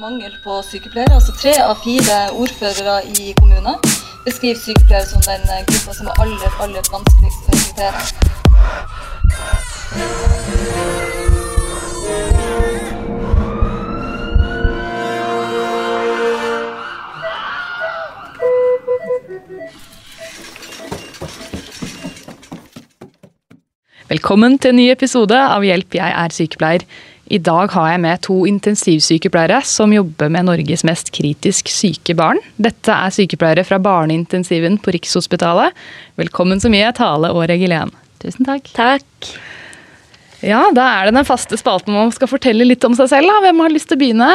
Mangel på sykepleiere. altså Tre av fire ordførere i kommuner beskriver sykepleiere som den gruppa som er aller, aller vanskeligst å rekruttere. Velkommen til en ny episode av Hjelp, jeg er sykepleier. I dag har jeg med to intensivsykepleiere som jobber med Norges mest kritisk syke barn. Dette er sykepleiere fra barneintensiven på Rikshospitalet. Velkommen så mye, Tale og Regilén. Tusen takk. Takk. Ja, da er det den faste spalten hvor man skal fortelle litt om seg selv. Da. Hvem har lyst til å begynne?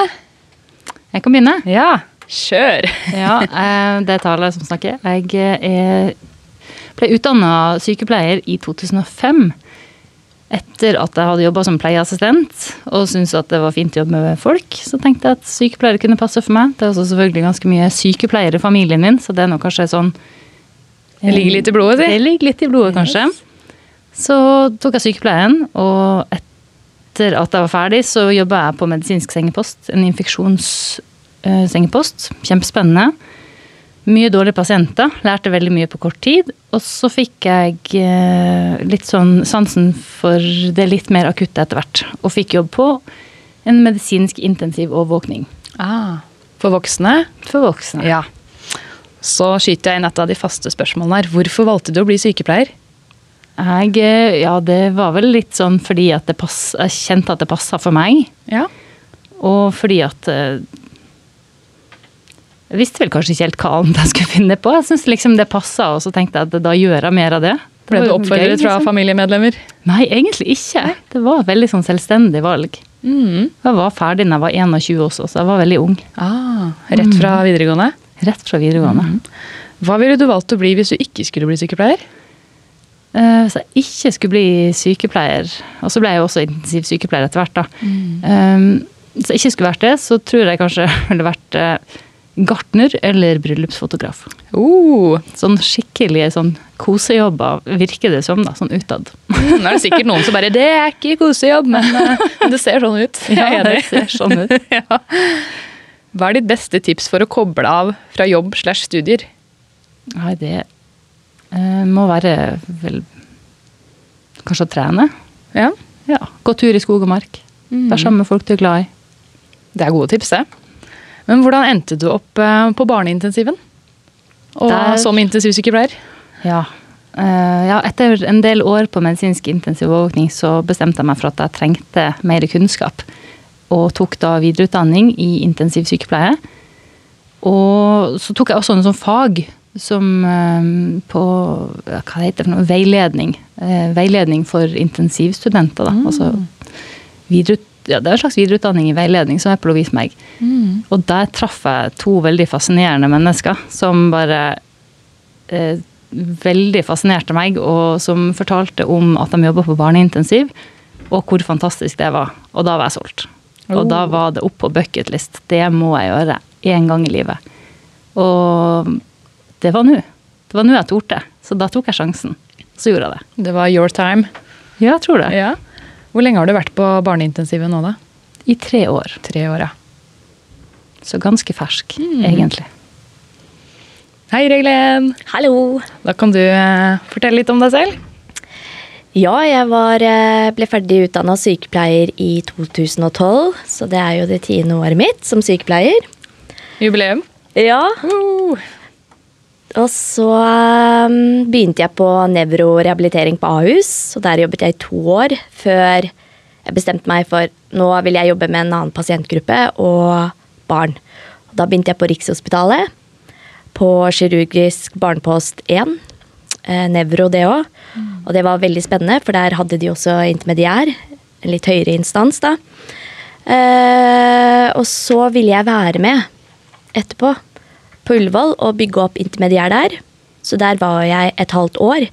Jeg kan begynne. Ja, kjør! Ja, eh, det er Tale som snakker. Jeg eh, ble utdanna sykepleier i 2005. Etter at jeg hadde jobba som pleieassistent og syntes at det var fint å jobbe med folk, så tenkte jeg at sykepleiere kunne passe for meg. Det er også selvfølgelig ganske mye sykepleiere i familien min, så det er nå kanskje sånn Det ligger litt i blodet, Det si. ligger litt i blodet, kanskje. Så tok jeg sykepleien, og etter at jeg var ferdig, så jobba jeg på medisinsk sengepost. En infeksjonssengepost. Kjempespennende. Mye dårlige pasienter. Lærte veldig mye på kort tid. Og så fikk jeg eh, litt sånn sansen for det litt mer akutte etter hvert. Og fikk jobb på en medisinsk intensiv overvåkning Ah, for voksne? for voksne. Ja. Så skyter jeg inn et av de faste spørsmålene her. Hvorfor valgte du å bli sykepleier? Jeg, eh, ja, det var vel litt sånn fordi at det pass, jeg kjente at det passa for meg. Ja. Og fordi at eh, Jeg visste vel kanskje ikke helt hva annet jeg skulle finne på. Jeg syns liksom det passa, og så tenkte jeg at da gjør jeg mer av det. Ble Det du var jo gøy, oppfordret fra liksom. familiemedlemmer? Nei, egentlig ikke. Det var et veldig sånn selvstendig valg. Mm. Jeg var ferdig da jeg var 21 også, så jeg var veldig ung. Ah, rett fra videregående? Rett fra videregående. Hva ville du valgt å bli hvis du ikke skulle bli sykepleier? Eh, Hvis jeg ikke skulle bli sykepleier, og så ble jeg jo også intensivsykepleier etter hvert, da. Eh, Hvis jeg ikke skulle vært det, så tror jeg kanskje jeg ville vært eh, gartner eller bryllupsfotograf. Oh, Sånn skikkelige sånn kosejobber virker det som, da, sånn utad. nå mm, er det sikkert noen som bare 'det er ikke kosejobb', men eh, det ser sånn ut. Jeg er det enig. ser sånn ut. Ja. Hva er ditt beste tips for å koble av fra jobb slash studier? Nei, det eh, må være vel Kanskje å trene? Ja, Ja. Gå tur i skog og mark. Være sammen med folk du er glad i. Det er gode tips, det. Men hvordan endte du opp eh, på barneintensiven? Og Der- som intensivsykepleier? Ja. Eh, ja, etter en del år på medisinsk intensiv overvåkning så bestemte jeg meg for at jeg trengte mer kunnskap. Og tok da videreutdanning i intensivsykepleie. Og så tok jeg også en sånn fag som eh, på ja, Hva heter det for noe? Veiledning. Eh, veiledning for intensivstudenter, da. Altså videreut, ja, det er en slags videreutdanning i veiledning som Apple viste meg. Og der traff jeg to veldig fascinerende mennesker som bare eh, veldig fascinerte meg, og som fortalte om at de jobba på barneintensiv, og hvor fantastisk det var. Og da var jeg solgt. Og da var det opp på bucketlist. Det må jeg gjøre én gang i livet. Og det var nå. Det var nå jeg torde. Så da tok jeg sjansen. Så gjorde jeg det. Det var your time. Ja, jeg tror det. Ja. Hvor lenge har du vært på barneintensiven nå, da? I tre år. Tre år, ja. Så ganske fersk, egentlig. Hei, Reglen! Hallo. Da kan du eh, fortelle litt om deg selv. Ja, jeg var, eh, ble ferdig utdanna sykepleier i 2012, så det er jo det tiende året mitt som sykepleier. Jubileum. Ja, Og så eh, begynte jeg på nevrorehabilitering på Ahus, og der jobbet jeg i to år før jeg bestemte meg for nå vil jeg jobbe med en annen pasientgruppe og barn. Og da begynte jeg på Rikshospitalet, på kirurgisk barnepost 1, eh, nevro det òg. Og det var veldig spennende, for der hadde de også intermediær, en litt høyere instans da. Eh, og så ville jeg være med etterpå på Ullevål og bygge opp intermediær der. Så der var jeg et halvt år.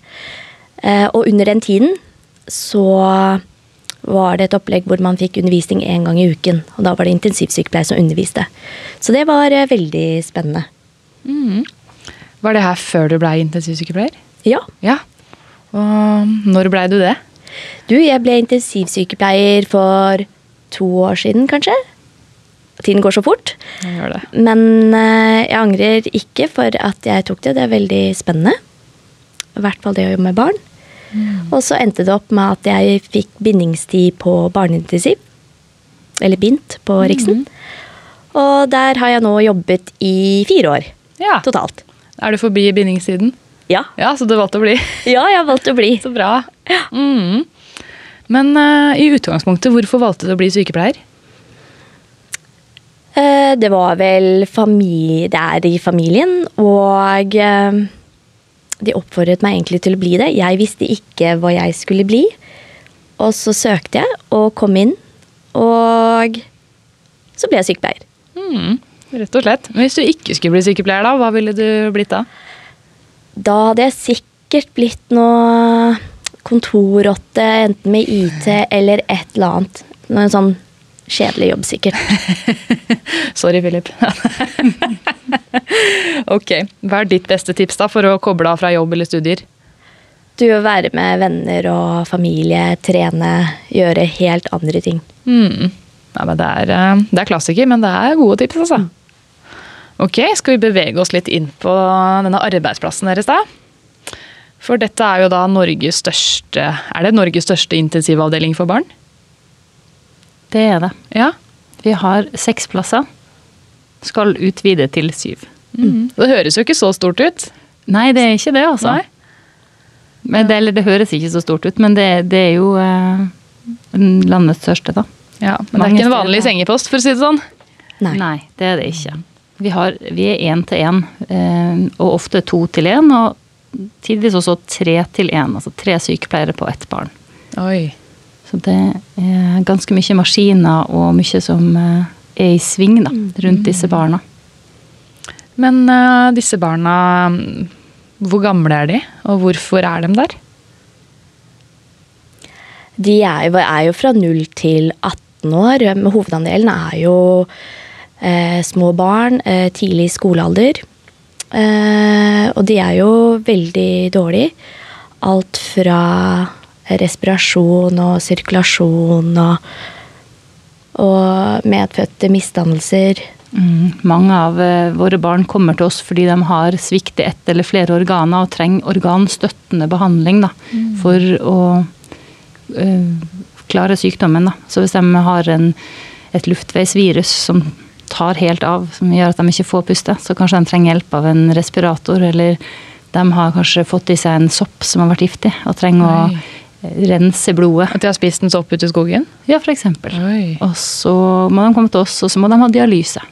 Eh, og under den tiden så var det et opplegg hvor man fikk undervisning én gang i uken. Og da var det intensivsykepleier som underviste. Så det var eh, veldig spennende. Mm. Var det her før du blei intensivsykepleier? Ja. Ja. Og når blei du det? Du, jeg ble intensivsykepleier for to år siden, kanskje. Tiden går så fort. Jeg gjør det. Men eh, jeg angrer ikke for at jeg tok det. Det er veldig spennende. I hvert fall det å jobbe med barn. Og så endte det opp med at jeg fikk bindingstid på barneintensiv. Eller BINT på Riksen. Og der har jeg nå jobbet i fire år Ja. totalt. Er du forbi bindingstiden? Ja. Ja, så du valgte å bli. ja, jeg har valgt å bli. Så bra. Mm. Men eh, i utgangspunktet, hvorfor valgte du å bli sykepleier? Eh, Det var vel familie, det er i familien, og eh, de oppfordret meg egentlig til å bli det. Jeg visste ikke hva jeg skulle bli, og så søkte jeg og kom inn, og så ble jeg sykepleier. Mm. Rett og slett. Men hvis du ikke skulle bli sykepleier, da, hva ville du blitt da? Da hadde jeg sikkert blitt noe kontorrotte, enten med IT eller et eller annet. Noe sånn kjedelig jobb, sikkert. Sorry, Philip. ok. Hva er ditt beste tips da for å koble av fra jobb eller studier? Du å være med venner og familie, trene, gjøre helt andre ting. Mm. Nei, men det, er, eh, det er klassiker, men det er gode tips, altså. Ok, skal vi bevege oss litt inn på denne arbeidsplassen deres, da? For dette er jo da Norges største Er det Norges største intensivavdeling for barn? Det er det. Ja. Vi har seks plasser. Skal utvide til syv. Det høres jo ikke så stort ut. Nei, det er ikke det, altså. Nei. Men det, eller det høres ikke så stort ut, men det, det er jo eh, landets største, da. Ja, men det er Mange ikke en steder, vanlig ja. sengepost, for å si det sånn. Nei. det er det ikke. Mm. Vi, har, vi er én til én, eh, og ofte to til én, og tidvis også tre til én. Altså tre sykepleiere på ett barn. Oi. Så det er ganske mye maskiner og mye som eh, er i sving da, rundt disse barna. Men eh, disse barna, mm, hvor gamle er de, og hvorfor er de der? De er jo, er jo fra 0 til 18 år. men Hovedandelen er jo eh, små barn, eh, tidlig skolealder. Eh, og de er jo veldig dårlige. Alt fra respirasjon og sirkulasjon og, og medfødte misdannelser. Mm, Mange av eh, våre barn kommer til oss fordi de har svikt i ett eller flere organer og trenger organstøttende behandling da, Mm. for å eh, klare sykdommen. Da. Så hvis de har en, et luftveisvirus som tar helt av, som gjør at de ikke får puste, så kanskje de trenger hjelp av en respirator, eller de har kanskje fått i seg en sopp som har vært giftig, og trenger Oi. å eh, rense blodet. At de har spist en sopp ute i skogen? Ja, for eksempel. Oi. Og så må de komme til oss, og så må de ha dialyse.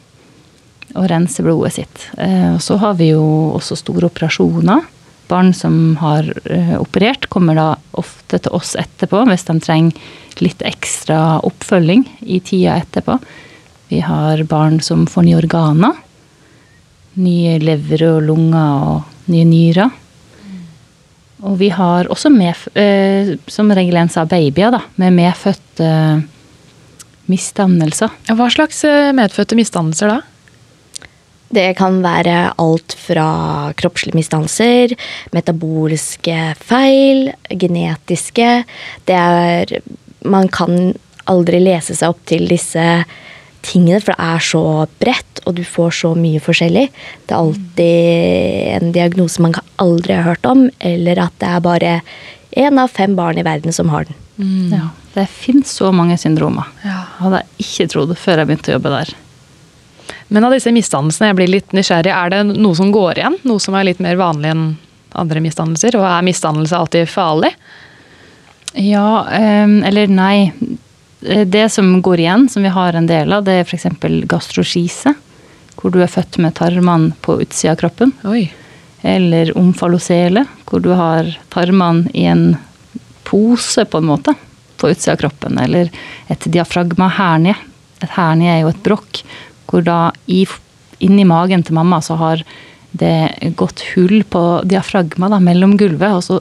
Og rense blodet sitt. Eh, Og så har vi jo også store operasjoner. Barn som har eh, operert, kommer da ofte til oss etterpå hvis de trenger litt ekstra oppfølging i tida etterpå. Vi har barn som får nye organer. Nye lever og lunger og nye nyrer. Og vi har også med, eh, som regel en sa, babyer da, med medfødte misdannelser. Hva slags eh, medfødte misdannelser da? Det kan være alt fra kroppslige misdannelser, metabolske feil, genetiske Det er Man kan aldri lese seg opp til disse tingene, for det er så bredt, og du får så mye forskjellig. Det er alltid en diagnose man kan- aldri har hørt om, eller at det er bare én av fem barn i verden som har den. Mm. Ja, det finnes så mange syndromer. Ja. Hadde jeg ikke trodd før jeg begynte å jobbe der. Men av disse misdannelsene, jeg blir litt nysgjerrig, er det noe som går igjen? Noe som er litt mer vanlig enn andre misdannelser? Og er misdannelse alltid farlig? Ja, eh, eller nei. Eh, Det som går igjen, som vi har en del av, det er f.eks. gastroskise. Hvor du er født med tarmene på utsida av kroppen. Oi. Eller omfalosele, hvor du har tarmene i en pose, på en måte, på utsida av kroppen. Eller et diafragma hernie. Et hernie er jo et brokk, hvor da i, inni magen til mamma så har det gått hull på diafragma da, mellom gulvet, og så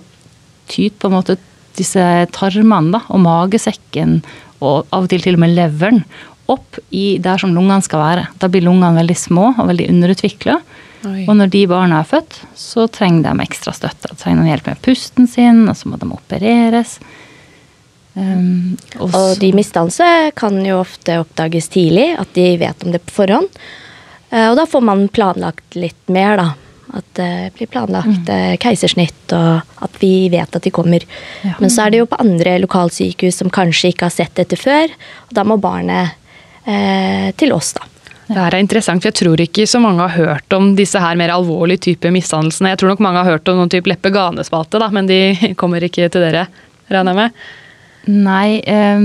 tyter på en måte disse tarmene da, og magesekken, og av og til til og med leveren, opp i der som lungene skal være. Da blir lungene veldig små og veldig underutvikla. Oi. Og når de barna er født, så trenger de ekstra støtte. Da Trenger de hjelp med pusten sin, og så må de opereres. Um, og Og så- de misdannelse kan jo ofte oppdages tidlig, at de vet om det på forhånd. Eh, Og da får man planlagt litt mer, da. At det blir Mm. planlagt eh, keisersnitt, og at vi vet at de kommer. Ja. Men så er det jo på andre lokalsykehus som kanskje ikke har sett dette før. Og da må barnet eh, til oss, da. Det her er interessant, for jeg tror ikke så mange har hørt om disse her mer alvorlige type misdannelsene. Jeg tror nok mange har hørt om noen type leppeganespalte, da, men de kommer ikke til dere, regner jeg med. Nei, um,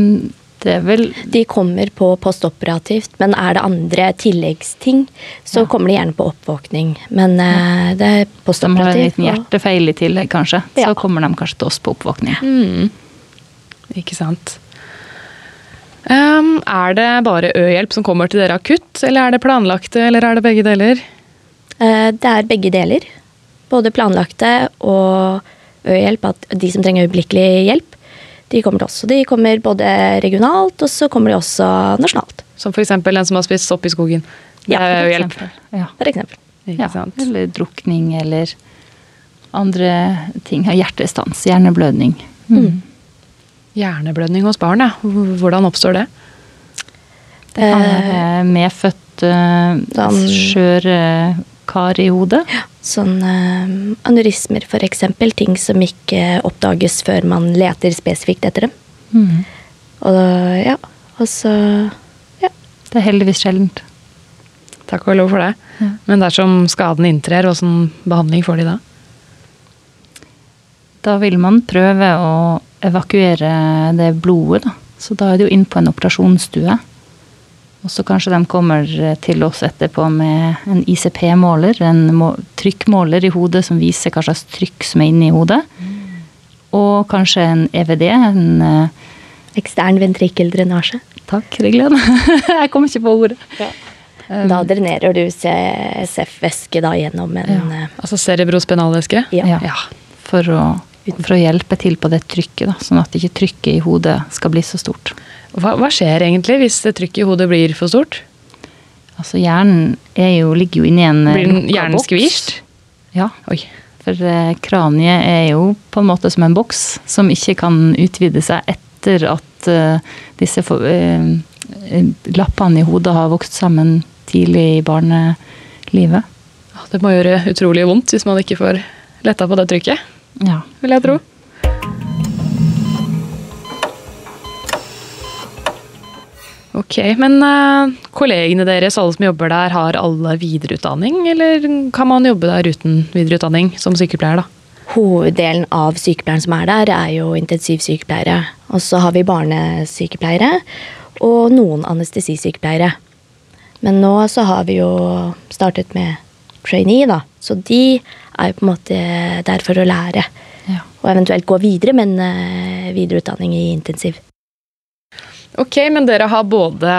det er vel De kommer på postoperativt, men er det andre tilleggsting, så kommer de gjerne på oppvåkning. Men eh, det De har er en postoperativt. liten og- hjertefeil i tillegg, kanskje. Ja. Så kommer de kanskje til oss på oppvåkning. Ikke sant. Ehm, er det bare Ø-hjelp som kommer til dere akutt, eller er det planlagte, eller er det begge deler? Eh, Det er begge deler. Både planlagte og Ø-hjelp. At de som trenger øyeblikkelig hjelp, de kommer til oss. Og de kommer både regionalt, og så kommer de også nasjonalt. Som f.eks. en som har spist sopp i skogen. Det Ja, er for Ø-hjelp. eksempel. Eh, Ja. For eksempel. Ikke ja. sant? Eller drukning eller andre ting. Hjertestans, hjerneblødning. Mm. Hjerneblødning hos barn, ja. Hvordan oppstår det? Det kan Eh, være medfødt uh, Sånn- skjøre kar i hodet. Sånn eh, aneurismer, for eksempel. Ting som ikke oppdages før man leter spesifikt etter dem. Mm. Og ja, og så ja. Det er heldigvis sjeldent. Takk og lov for det. Men dersom skaden inntrer, hvordan behandling får de da? Da vil man prøve å evakuere det blodet, da. Så da er det jo inn på en operasjonsstue. Og så kanskje de kommer til oss etterpå med en ICP-måler, en må trykkmåler i hodet som viser hva slags trykk som er inne i hodet. Og kanskje en EVD, en eh, Ekstern ventrikkeldrenasje. Takk, det gleder jeg meg. Jeg kom ikke på ordet. Da drenerer du CSF-væske da gjennom en eh, Altså cerebrospinalvæske? Ja. Ja. For å, for å hjelpe til på det trykket, da, sånn at ikke trykket i hodet skal bli så stort. Hva, hva skjer egentlig hvis det trykket i hodet blir for stort? Altså Hjernen er jo, ligger jo inni en eh, Blir den lukka hjernen boks. skvist? Ja, Oi. for eh, kraniet er jo på en måte som en boks som ikke kan utvide seg etter at eh, disse for, eh, eh, lappene i hodet har vokst sammen tidlig i barnelivet. Å, Det må gjøre utrolig vondt hvis man ikke får letta på det trykket, Ja. vil jeg tro. Ok, Men eh, kollegene deres, alle som jobber der, har alle videreutdanning? Eller kan man jobbe der uten videreutdanning som sykepleier, da? Hoveddelen av sykepleieren som er der, er jo intensivsykepleiere. Og så har vi barnesykepleiere og noen anestesisykepleiere. Men nå så har vi jo startet med trainee, da. Så de er jo på en måte der for å lære. Ja. Og eventuelt gå videre, men eh, videreutdanning i intensiv. Ok, men dere har både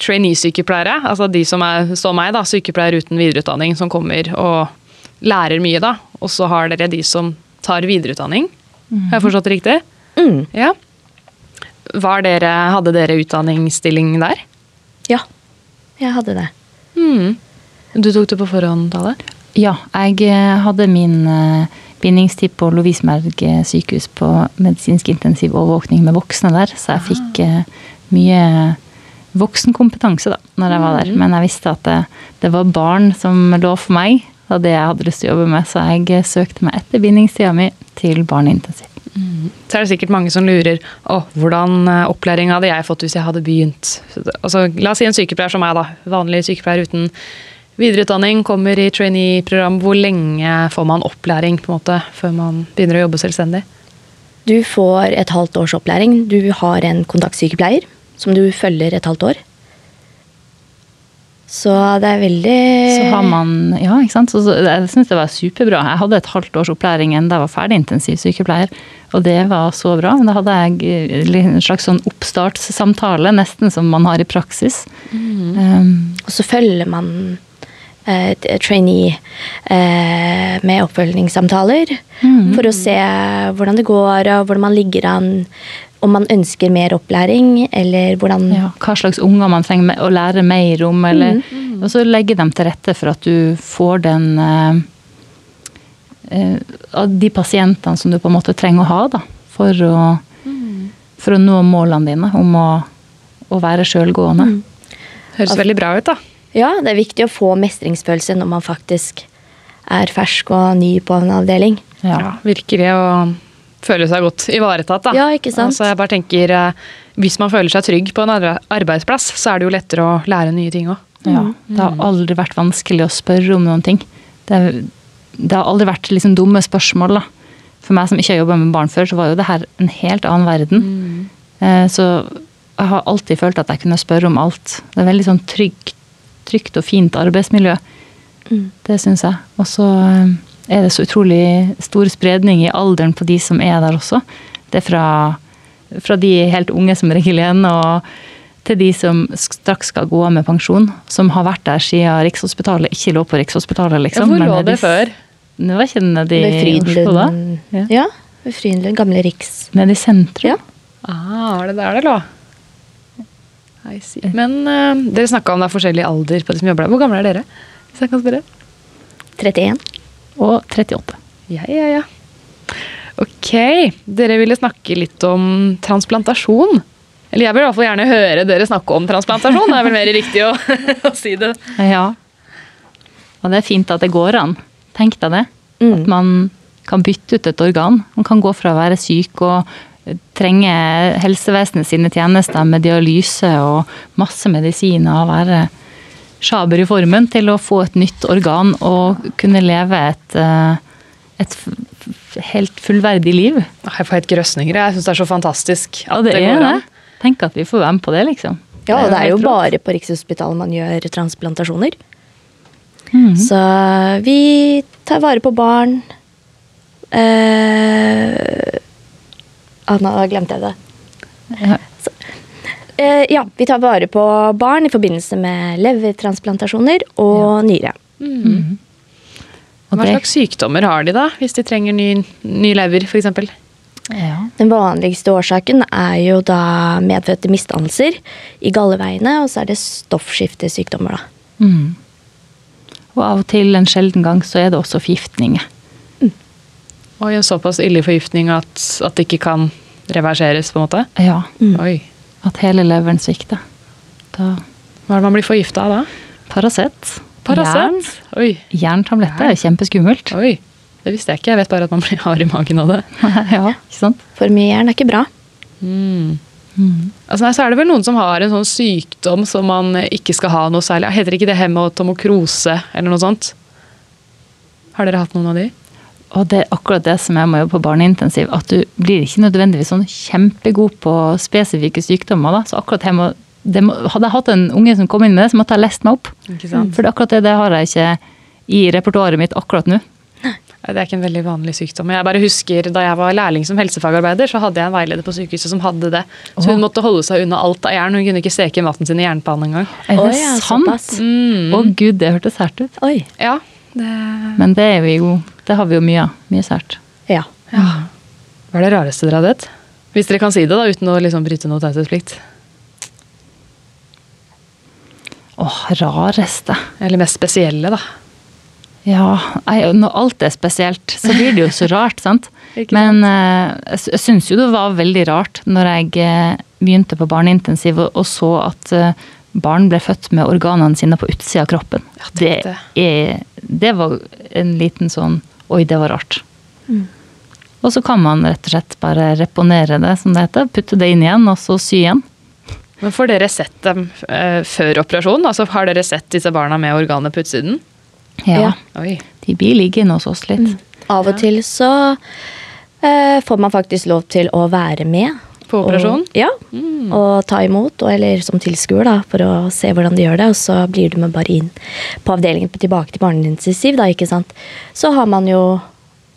trainee-sykepleiere, altså de som er som meg, da, sykepleiere uten videreutdanning, som kommer og lærer mye, da. Og så har dere de som tar videreutdanning. Har jeg forstått det riktig? Mm, Ja. Var dere, hadde dere utdanningsstilling der? ja, jeg hadde det. Mm. Du tok det på forhånd, Tale? Ja, jeg eh, hadde min eh, bindingstid på Lovisenberg eh, sykehus på medisinsk intensiv overvåkning med voksne der, så jeg fikk eh, mye voksenkompetanse da når jeg var der. Men jeg visste at det, det var barn som lå for meg, og det jeg hadde lyst til å jobbe med, så jeg eh, søkte meg etter bindingstida mi til barneintensiv. Så er det sikkert mange som lurer å, hvordan eh, opplæring hadde jeg fått hvis jeg hadde begynt. Så det- Altså, la oss si en sykepleier som meg, da. Vanlig sykepleier uten videreutdanning, kommer i trainee-program. Hvor lenge får man opplæring på en måte, før man begynner å jobbe selvstendig? Du får et halvt års opplæring. Du har en kontaktsykepleier som du følger et halvt år. Så det er veldig Så har Eh. man, ja, ikke sant? Så, så, jeg synes det var superbra. Jeg hadde et halvt års opplæring enda jeg var ferdig intensivsykepleier, og det var så bra. Men da hadde jeg eh, li- en slags sånn oppstartssamtale, nesten som man har i praksis. Um, Og så følger man eh, et trainee eh, med oppfølgingssamtaler Mm-hmm. for å se hvordan det går, og hvordan man ligger an. Om man ønsker mer opplæring, eller hvordan ja, hva slags unger man trenger me- å lære mer om, eller, og så legge dem til rette for at du får den eh, eh, av de pasientene som du på en måte trenger å ha, da, for å for å nå målene dine om å, å være sjølgående. Høres veldig bra ut, da. Ja, det er viktig å få mestringsfølelse når man faktisk er fersk og ny på en avdeling. Ja. Ja, virkelig å føle seg godt ivaretatt, da. Ja, ikke sant? Altså, jeg bare tenker, eh, hvis man føler seg trygg på en arbe- arbeidsplass, så er det jo lettere å lære nye ting òg. Ja. Det har aldri vært vanskelig å spørre om noen ting. Det, er- det har aldri vært liksom dumme spørsmål. Da. For meg som ikke har jobba med barn før, så var jo det her en helt annen verden. Eh, Så jeg har alltid følt at jeg kunne spørre om alt. Det er veldig sånn trygt, trygt og fint arbeidsmiljø. Det syns jeg. Og så eh, er det så utrolig stor spredning i alderen på de som er der også. Det er fra, fra de helt unge som regel igjen, og til de som straks skal gå av med pensjon. Som har vært der siden Rikshospitalet ikke lå på Rikshospitalet, liksom. Hvor men lå er de- det før? Det var ikke nede Ved i Oslo, da? Frydenlund. Ja. Ja, ved Frydenlund. Gamle Riks. Nede i sentrum? Ja. Ah, er det der det lå? I see. Men eh, dere snakka om det er forskjellig alder på de som jobber der. Hvor gamle er dere? Hvis jeg kan spørre? 31. Og 38. Ja, ja, ja. Ok, dere ville snakke litt om transplantasjon. Eller jeg vil i hvert fall gjerne høre dere snakke om transplantasjon. Det er vel mer riktig å, å si det. Ja. Og det er fint at det går an. Tenk deg det. Mm. At man kan bytte ut et organ. Man kan gå fra å være syk og eh, trenge helsevesenet sine tjenester med dialyse og masse medisiner og være sjaber i formen, til å få et nytt organ og kunne leve et, eh, et f- f- helt fullverdig liv. Åh, Jeg får helt grøsninger. Jeg syns det er så fantastisk. at Og det, går er an. det. Tenk at vi får være med på det, liksom. Ja, og det er jo helt rått. bare på Rikshospitalet man gjør transplantasjoner. Mm. Mhm. Så vi tar vare på barn. Eh, ah, nå glemte jeg det. Ja. Så, eh, ja, vi tar vare på barn i forbindelse med levertransplantasjoner og nyre. Og Hva det- slags sykdommer har de, da? Hvis de trenger ny, ny lever, f.eks.? Ja. Den vanligste årsaken er jo da medfødte misdannelser i galleveiene, og så er det stoffskiftesykdommer, da. Mm. Og av og til en sjelden gang så er det også forgiftninger. Oi, en såpass ille forgiftning at, at det ikke kan reverseres, på en måte? Ja, Oi. at hele leveren svikter. Da Hva er det man blir forgifta av da? Paracet. Jern. Paracet? Oi. Jerntabletter er jo kjempeskummelt. Oi. Det visste jeg ikke. Jeg vet bare at man blir hard i magen av det. ja, ikke sant? For mye jern er ikke bra. Altså, nei, så er det vel noen som har en sånn sykdom som man ikke skal ha noe særlig Heter ikke det hematomokrose eller noe sånt? Har dere hatt noen av de? Og det er akkurat det som er med å jobbe på barneintensiv, at du blir ikke nødvendigvis sånn kjempegod på spesifikke sykdommer. Da. Så akkurat her må, det må, hadde jeg hatt en unge som kom inn med det, så måtte jeg lest meg opp. Ikke sant? For det, akkurat det, det har jeg ikke i repertoaret mitt akkurat nå. Nei, Det er ikke en veldig vanlig sykdom. Jeg bare husker Da jeg var lærling som helsefagarbeider, så hadde jeg en veileder på sykehuset som hadde det. Så hun måtte holde seg unna alt av jern. Hun kunne ikke steke maten sin i jernpanne engang. Mm. Er Å det ja, sant? Å såpass. gud, det hørtes sært ut. Oi. Ja, det Men det er vi jo Det har vi jo mye av. Mye sært. Ja. Hva er det rareste dere har dødd? Hvis dere kan si det, da, uten å liksom bryte noe taushetsplikt. Åh, rareste. Eller mest spesielle, da. Ja, nei, når alt er spesielt, så blir det jo så rart, sant? Ikke sant? Men eh, jeg sy- jeg syns jo det var veldig rart når jeg eh, begynte på barneintensiv og, og så at eh, barn ble født med organene sine på utsida av kroppen. tenk det, er, det var en liten sånn Oi, det var rart. Mm. Og så kan man rett og slett bare reponere det, som det heter. Putte det inn igjen, og så sy igjen. Men Får dere sett dem eh, før operasjonen? Altså, har dere sett disse barna med organet på utsiden? Ja, Ja. Oi. De blir liggende hos oss Mm. litt. Av og til så eh, får man faktisk lov til å være med. På operasjon? Mm. Og, ja. Og ta imot, og, eller som tilskuer, da, for å se hvordan de gjør det. Og så blir du med bare inn på avdelingen tilbake til barneintensiv, da, ikke sant. Så har man jo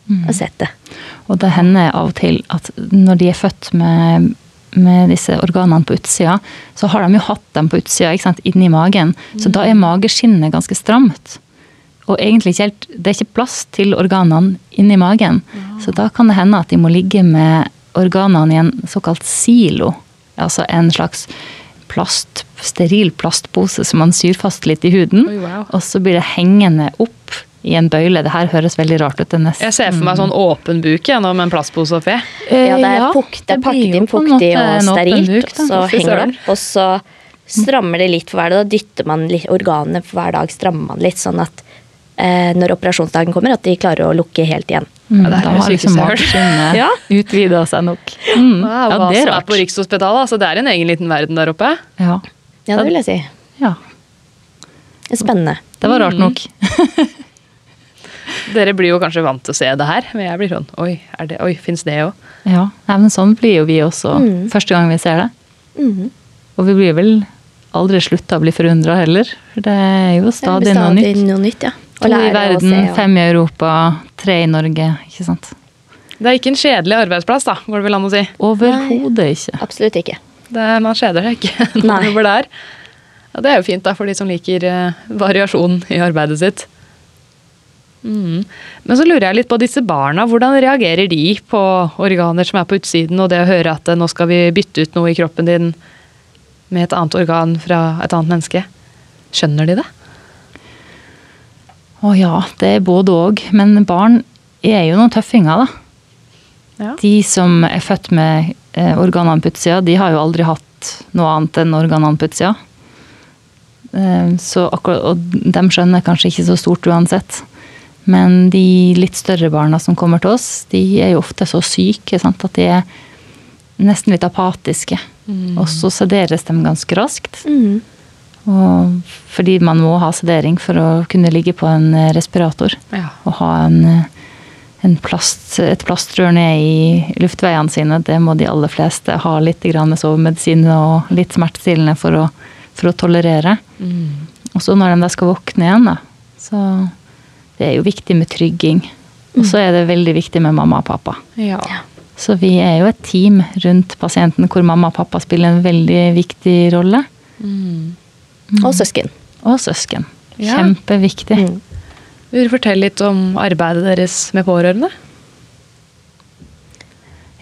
Mm. sett det. Og det hender av og til at når de er født med, med disse organene på utsida, så har de jo hatt dem på utsida, ikke sant, inni magen. Så da er Mm. mageskinnet ganske stramt. Og egentlig ikke helt, det er ikke plass til organene inni magen. Så da kan det hende at de må ligge med organene i en såkalt silo. Altså en slags plast, steril plastpose som man syr fast litt i huden. Oi, wow. Og så blir det hengende opp i en bøyle. Det her høres veldig rart ut. Det er nesten- Jeg ser for meg sånn åpen buk gjennom en plastpose oppi. Ja, det er Eh, fukt, det er blir pakket jo inn på en fuktig måte og en åpen sterilt, duk, da. og så Fy henger det søren. opp. Og så strammer det litt for hver dag. Da dytter man litt, organene for hver dag strammer man litt, sånn at eh, når operasjonsdagen kommer, at de klarer å lukke helt igjen. Mm, Ja, det er da det har sykeste liksom jeg har hørt. mageskinnet Ja. utvida seg nok. Mm. Wow, Ja, hva det er som er rart. på Rikshospitalet. Altså, det er en egen liten verden der oppe. Ja. Ja, det vil jeg si. ja. Spennende. Det var Mm. rart nok. Dere blir jo kanskje vant til å se det her, men jeg blir sånn Oi, er det, oi fins det òg? Ja, Nei, men sånn blir jo vi også Mm. første gang vi ser det. Mhm. Og vi blir vel aldri slutta å bli forundra heller. For det er jo Det blir stadig noe nytt. noe nytt, ja. Å To i lære å verden, se og- fem i Europa, tre i Norge. Ikke sant? Det er ikke en kjedelig arbeidsplass, da, går det vel an å si. Overhodet ikke. Absolutt ikke. Det, man kjeder seg ikke når Nei. man jobber der. Og det er jo fint da, for de som liker eh, variasjon i arbeidet sitt. Mm. Men så lurer jeg litt på disse barna. Hvordan reagerer de på organer som er på utsiden, og det å høre at eh, nå skal vi bytte ut noe i kroppen din med et annet organ fra et annet menneske? Skjønner de det? Å ja, det er både òg. Men barn er jo noen tøffinger, da. Ja. De som er født med eh, organene på utsida, de har jo aldri hatt noe annet enn organene på utsida. Eh, så akkurat, og de skjønner kanskje ikke så stort uansett. Men de litt større barna som kommer til oss, de er jo ofte så syke sant? at de er nesten litt apatiske. Og så sederes de ganske raskt. Mhm. Og fordi man må ha sedering for å kunne ligge på en eh, respirator. Ja. Å ha en, eh, en plast, et plastrør ned i luftveiene sine, det må de aller fleste ha litt grann sovemedisin og litt smertestillende for å, for å tolerere. Mm. Og så når de da skal våkne igjen, da, så det er jo viktig med trygging. Og så er det veldig viktig med mamma og pappa. Ja. Så vi er jo et team rundt pasienten hvor mamma og pappa spiller en veldig viktig rolle. Mm. Og søsken. Og søsken. Ja. Kjempeviktig. Mm. Vil du fortelle litt om arbeidet deres med pårørende?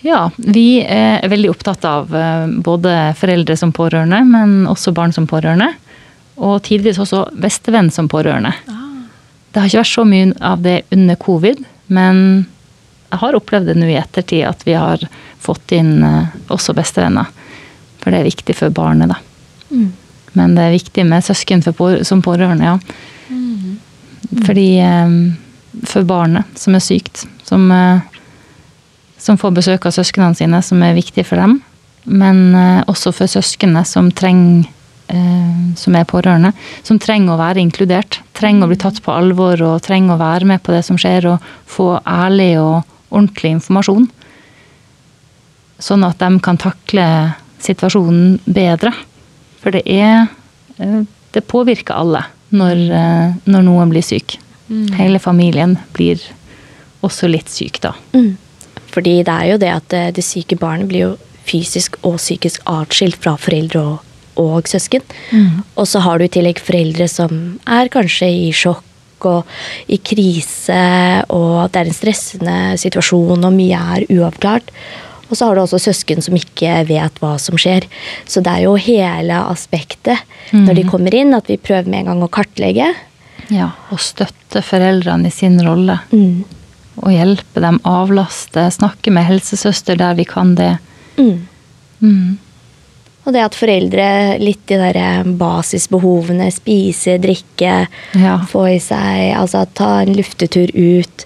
Ja, vi er veldig opptatt av eh, både foreldre som pårørende, men også barn som pårørende. Og tidvis også bestevenn som pårørende. Det har ikke vært så mye av det under covid, men jeg har opplevd det nå i ettertid at vi har fått inn eh, også bestevenner. For det er viktig for barnet, da. Men det er viktig med søsken for pår som pårørende, ja. Fordi eh, for barnet som er sykt, som eh, som får besøk av søsknene sine, som er viktig for dem. Men eh, også for søsknene som trenger eh, som er pårørende, som trenger å være inkludert. Trenger å bli tatt på alvor og trenger å være med på det som skjer, og få ærlig og ordentlig informasjon. Sånn at de kan takle situasjonen bedre. For det er eh, Det påvirker alle når, eh, når noen blir syk. Hele familien blir også litt syk, da. Mm. Fordi det er jo det at eh, det syke barnet blir jo fysisk og psykisk atskilt fra foreldre og, og søsken. Og så har du i tillegg foreldre som er kanskje i sjokk og i krise, og det er en stressende situasjon, og mye er uavklart. Og så har du også søsken som ikke vet hva som skjer. Så det er jo hele aspektet når de kommer inn, at vi prøver med en gang å kartlegge. Ja, og støtte foreldrene i sin rolle. Mm. Og hjelpe dem, avlaste, snakke med helsesøster der vi kan det. Mm. Mm. Og det at foreldre litt de der eh, basisbehovene, spise, drikke, Ja. få i seg, altså ta en luftetur ut.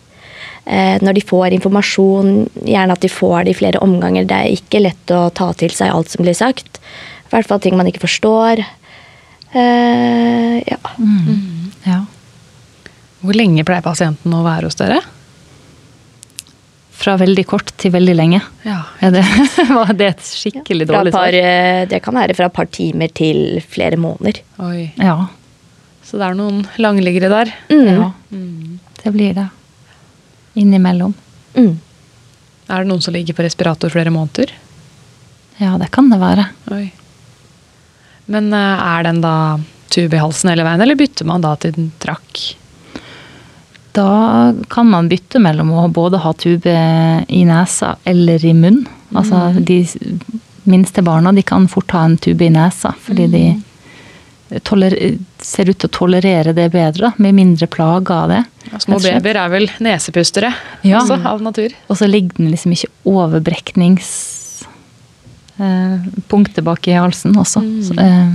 Eh, når de får informasjon, gjerne at de får det i flere omganger. Det er ikke lett å ta til seg alt som blir sagt. I hvert fall ting man ikke forstår. Eh, ja. Mm. ja. Hvor lenge pleier pasienten å være hos dere? Fra veldig kort til veldig lenge. Ja. Er det, var det et skikkelig Fra dårlig par, svar? eh, det kan være fra et par timer til flere måneder. Oi. Ja. Så det er noen langliggere der. Mm. ja. Det blir det. Innimellom. Mm. Er det noen som ligger på respirator flere måneder? Ja, det kan det være. Oi. Men eh, er den da tube i halsen hele veien, eller bytter man da til den trakk? Da kan man bytte mellom å både ha tube i nesa eller i munn. Mm. Altså de s- minste barna de kan fort ha en tube i nesa fordi de Mm. toler, ser ut til å tolerere det bedre, da, med mindre plager av det. Ja, Små rett og slett. babyer er vel nesepustere Ja. også, av natur. Og så ligger den liksom ikke overbrekningspunktet bak eh, i halsen også. Så, eh,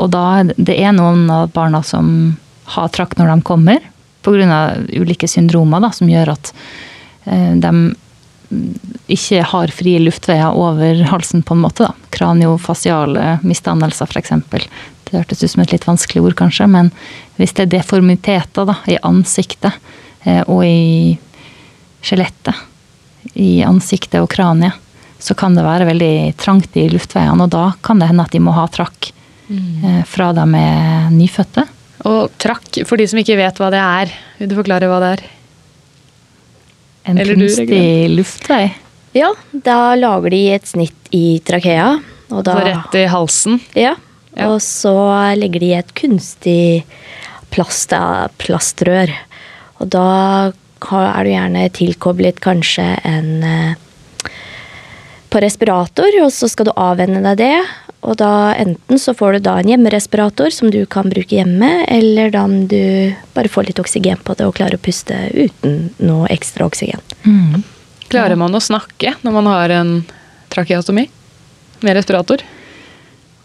og da er det- det er noen av barna som har trakk når de kommer, pga. ulike syndromer da, som gjør at eh, de ikke har frie luftveier over halsen, på en måte. da. Kraniofasiale misdannelser, f.eks. Det hørtes ut som et litt vanskelig ord, kanskje, men hvis det er deformiteter da, i ansiktet eh, og i skjelettet, i ansiktet og kraniet, så kan det være veldig trangt i luftveiene, og da kan det hende at de må ha trakk Mm. eh, fra de er nyfødte. Og trakk, for de som ikke vet hva det er, vil du forklare hva det er? En Eller du, kunstig Regine. luftvei. Ja, da lager de et snitt i trakea. Og da, Så Altså rett i halsen. Ja, Ja. og så legger de et kunstig plast, eh, plastrør. Og da ka- er du gjerne tilkoblet kanskje en eh, på respirator, og så skal du avvenne deg det. Og da enten så får du da en hjemmerespirator som du kan bruke hjemme, eller da om du bare får litt oksygen på det og klarer å puste uten noe ekstra oksygen. Mm. Klarer man å snakke når man har en trakeostomi? Med respirator?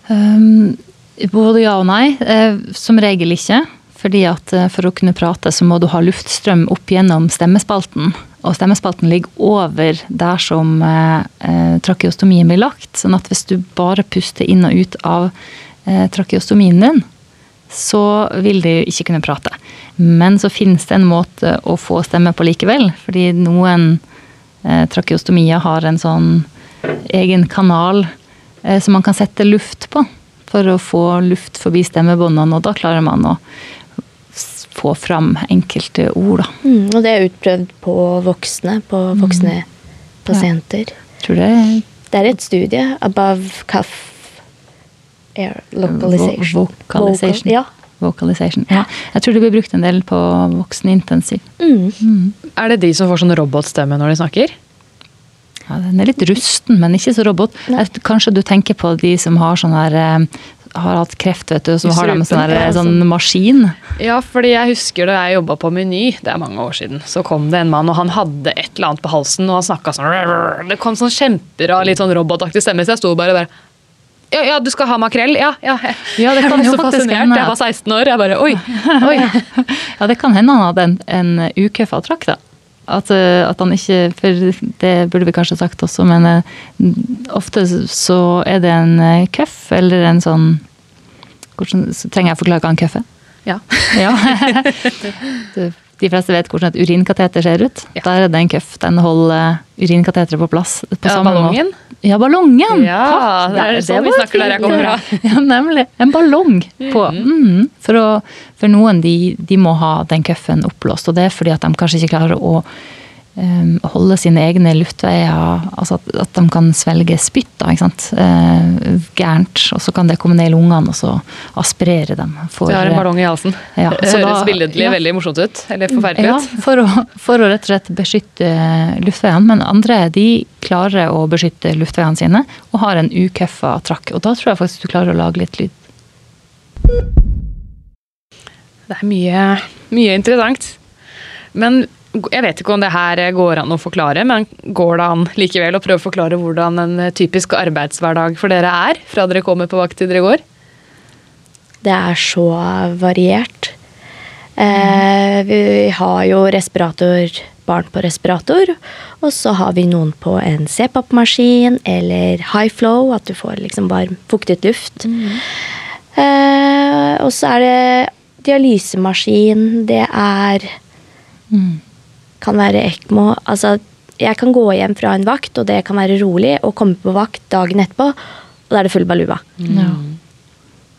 Um, både ja og nei. Eh, som regel ikke. Fordi at eh, For å kunne prate så må du ha luftstrøm opp gjennom stemmespalten. Og stemmespalten ligger over der som eh, eh, trakeostomien blir lagt. Sånn at hvis du bare puster inn og ut av eh, trakeostomien din, så vil de jo ikke kunne prate. Men så finnes det en måte å få stemme på likevel. Fordi noen eh, trakeostomier har en sånn egen kanal eh, som man kan sette luft på for å få luft forbi stemmebåndene, og da klarer man å s- få fram enkelte ord, da. Mm, og det er utprøvd på voksne, på voksne pasienter. Tror det er Det er et studie. Above cuff air localization. vo- vocalization. Vocal, ja. Vocalization. Ja. Jeg tror det blir brukt en del på voksenintensiv. Mm. Er det de som får sånn robotstemme når de snakker? Ja, den er litt rusten, men ikke så robot. Jeg, kanskje du tenker på de som har sånn her eh, har hatt kreft, vet du, og så I har de en sånn, strupen, her, ja, sånn maskin. Ja, fordi jeg husker da jeg jobba på Meny, det er mange år siden, så kom det en mann, og han hadde et eller annet på halsen, og han snakka sånn Det kom sånn kjemperar, litt sånn robotaktig stemme, så jeg sto bare og bare ja, ja, du skal ha makrell? Ja, ja. Jeg, Ja, det jeg kan ble jo så faktisk fascinert. hende Jeg at- var 16 år. Jeg bare Oi! oi. Ja, det kan hende han hadde en, en ukøffa trakk, da. At, eh, at han ikke For det burde vi kanskje sagt også, men eh, ofte så er det en eh, køff eller en sånn hvordan, så Trenger jeg å forklare hva en køff er? Ja. Ja. Du, De fleste vet hvordan et urinkateter ser ut. Ja. Der er det en køff. Den holder eh, urinkateteret på plass. På Ja, samme ballongen? Måte. Ja, ballongen! Ja, Takk! det er Der- sånn vi var snakker der jeg fint, kommer ja. Ja, nemlig. En ballong på. Mm, for, å, for noen, de, de må ha den køffen oppblåst. Og det er fordi at de kanskje ikke klarer å eh, holde sine egne luftveier Altså at, at de kan svelge spytt, da, ikke sant. Eh, gærent. Og så kan det komme ned i lungene, og så aspirere dem. For, Så jeg har en ballong i halsen. Ja, det så da- høres billedlig ja. veldig morsomt ut. Eller forferdelig ja, ut. for å, for å rett og slett beskytte eh, luftveiene. Men andre de klarer å beskytte luftveiene sine og har en ukøffa trakk. Og da tror jeg faktisk du klarer å lage litt lyd. Det er mye, mye interessant. Men g- jeg vet ikke om det her eh, går an å forklare, men går det an likevel å prøve å forklare hvordan en eh, typisk arbeidshverdag for dere er? Fra dere kommer på vakt til dere går? Det er så variert. Eh, vi har jo respirator, barn på respirator, og så har vi noen på en CPAP-maskin eller high flow, at du får liksom varm, fuktet luft. Eh, og så er det dialysemaskin, det er Kan være ECMO. Altså, jeg kan gå hjem fra en vakt, og det kan være rolig, og komme på vakt dagen etterpå, og da er det full baluba. Ja.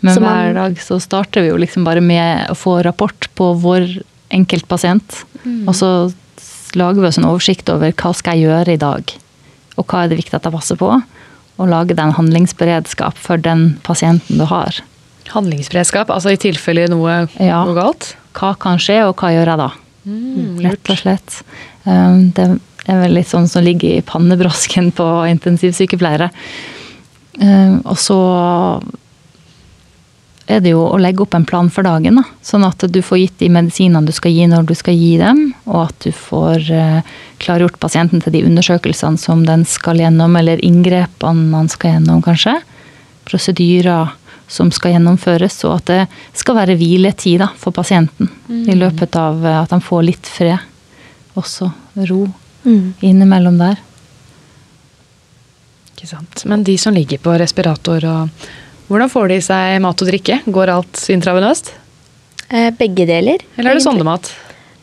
Men Så man- hver dag så starter vi jo liksom bare med å få rapport på vår enkeltpasient. Og så lager vi oss en oversikt over hva skal jeg gjøre i dag, og hva er det viktig at jeg passer på. Og lage den handlingsberedskap for den pasienten du har. Handlingsberedskap, altså i tilfelle noe Ja. går galt? hva kan skje, og hva gjør jeg da? Rett og slett. Um, Det er vel litt sånn som ligger i pannebrasken på Ehm, intensivsykepleiere. Um, Og så er det jo å legge opp en plan for dagen. Da. Sånn at du får gitt de medisinene du skal gi når du skal gi dem, og at du får eh, klargjort pasienten til de undersøkelsene som den skal gjennom, eller inngrepene man skal gjennom, kanskje. Prosedyrer som skal gjennomføres, og at det skal være hviletid da, for pasienten. I løpet av eh, at han får litt fred. Også ro Mm. innimellom der. Ikke sant. Men de som ligger på respirator, og hvordan får de i seg mat og drikke? Går alt intravenøst? Eh, Begge deler. Eller er det egentlig. sondemat?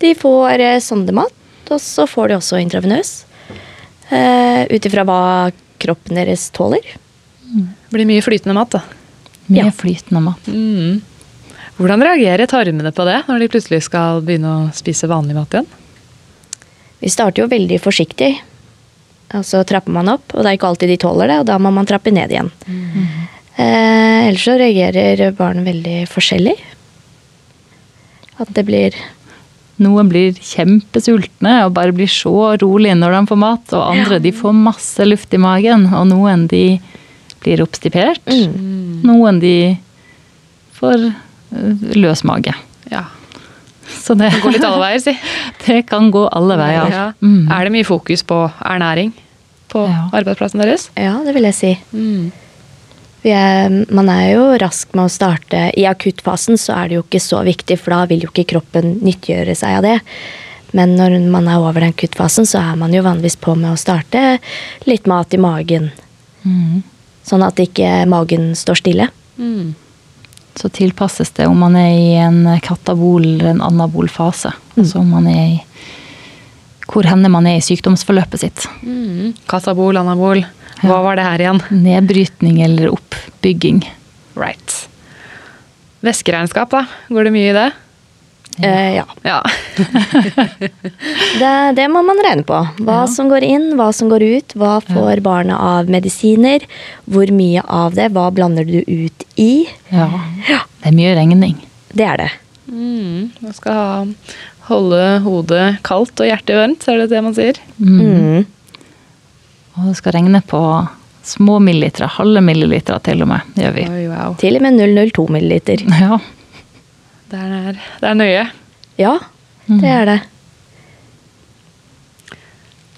De får eh, sondemat, og så får de også intravenøs. Eh, Ut ifra hva kroppen deres tåler. Blir mye flytende mat, da. Mye Ja. flytende mat. Mm. Hvordan reagerer tarmene på det, når de plutselig skal begynne å spise vanlig mat igjen? Vi starter jo veldig forsiktig, og så trapper man opp. Og det er ikke alltid de tåler det, og da må man trappe ned igjen. Mm. Eh, ellers så reagerer barn veldig forskjellig. At det blir Noen blir kjempesultne og bare blir så rolige når de får mat, og andre de får masse luft i magen, og noen de blir oppstipert. Mm. mm, Noen de får øh, løs mage. Ja. Så det, Det går litt alle veier, si. det kan gå alle veier. Ja. Mm. Er det mye fokus på ernæring på Ja. arbeidsplassen deres? Ja, det vil jeg si. Vi er, man er jo rask med å starte. I akuttfasen så er det jo ikke så viktig, for da vil jo ikke kroppen nyttiggjøre seg av det. Men når man er over den akuttfasen, så er man jo vanligvis på med å starte litt mat i magen. Mm. Sånn at ikke magen står stille. Så tilpasses det om man er i en katabol eller en anabol fase. Mm. Altså om man er i hvor henne man er i sykdomsforløpet sitt. Katabol, anabol. Hva var det her igjen? Nedbrytning eller oppbygging. Right. Væskeregnskap, da. Går det mye i det? Eh, ja. Ja. Det, det må man regne på. Hva som går inn, hva som går ut. Hva får barna av medisiner? Hvor mye av det? Hva blander du ut i? Ja. Det er mye regning. Det er det. Mm. Man skal ha, holde hodet kaldt og hjertet varmt, er det det man sier? Mm. Og det skal regne på små millilitere, halve millilitere til og med, gjør vi. Oi, wow. Til og med 002 milliliter. Ja. Det er, det er nøye. Ja, det er det.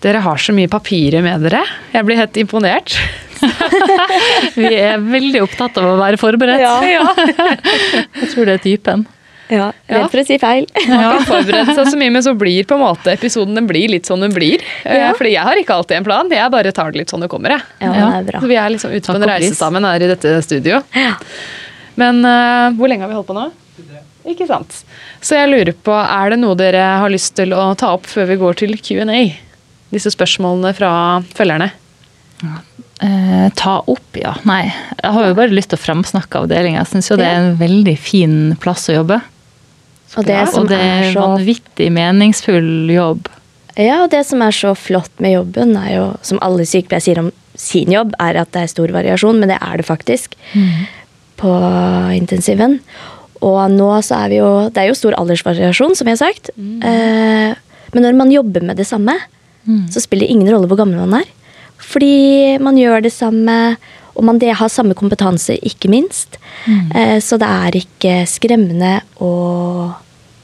Dere har så mye papirer med dere. Jeg blir helt imponert. Vi er veldig opptatt av å være forberedt. Jeg tror det er typen. Ja, Ja. Redd for å si feil. Man kan forberede seg så mye, men så blir på en måte episoden den blir litt sånn den blir. Eh, Fordi jeg har ikke alltid en plan, jeg bare tar det litt sånn det kommer. Jeg. Ja, det er bra. Så vi er liksom ute på Takk en og reise pris. sammen her i dette studio. Men eh, hvor lenge har vi holdt på nå? Ikke sant. Så jeg lurer på, er det noe dere har lyst til å ta opp før vi går til Q&A? Disse spørsmålene fra følgerne. Eh, ta opp, ja. Nei, jeg har jo bare lyst til å fremsnakke avdelinga. Jeg syns jo det er en veldig fin plass å jobbe. Og det, som Og det er er en så, vanvittig meningsfull jobb. ja, og det som er så flott med jobben, er jo, som alle sykepleiere sier om sin jobb, er at det er stor variasjon, men det er det faktisk på intensiven. Og nå så er vi jo Det er jo stor aldersvariasjon, som jeg har sagt. Eh, men når man jobber med det samme, så spiller det ingen rolle hvor gammel man er. Fordi man gjør det samme, og man det har samme kompetanse, ikke minst. Eh, så det er ikke skremmende å,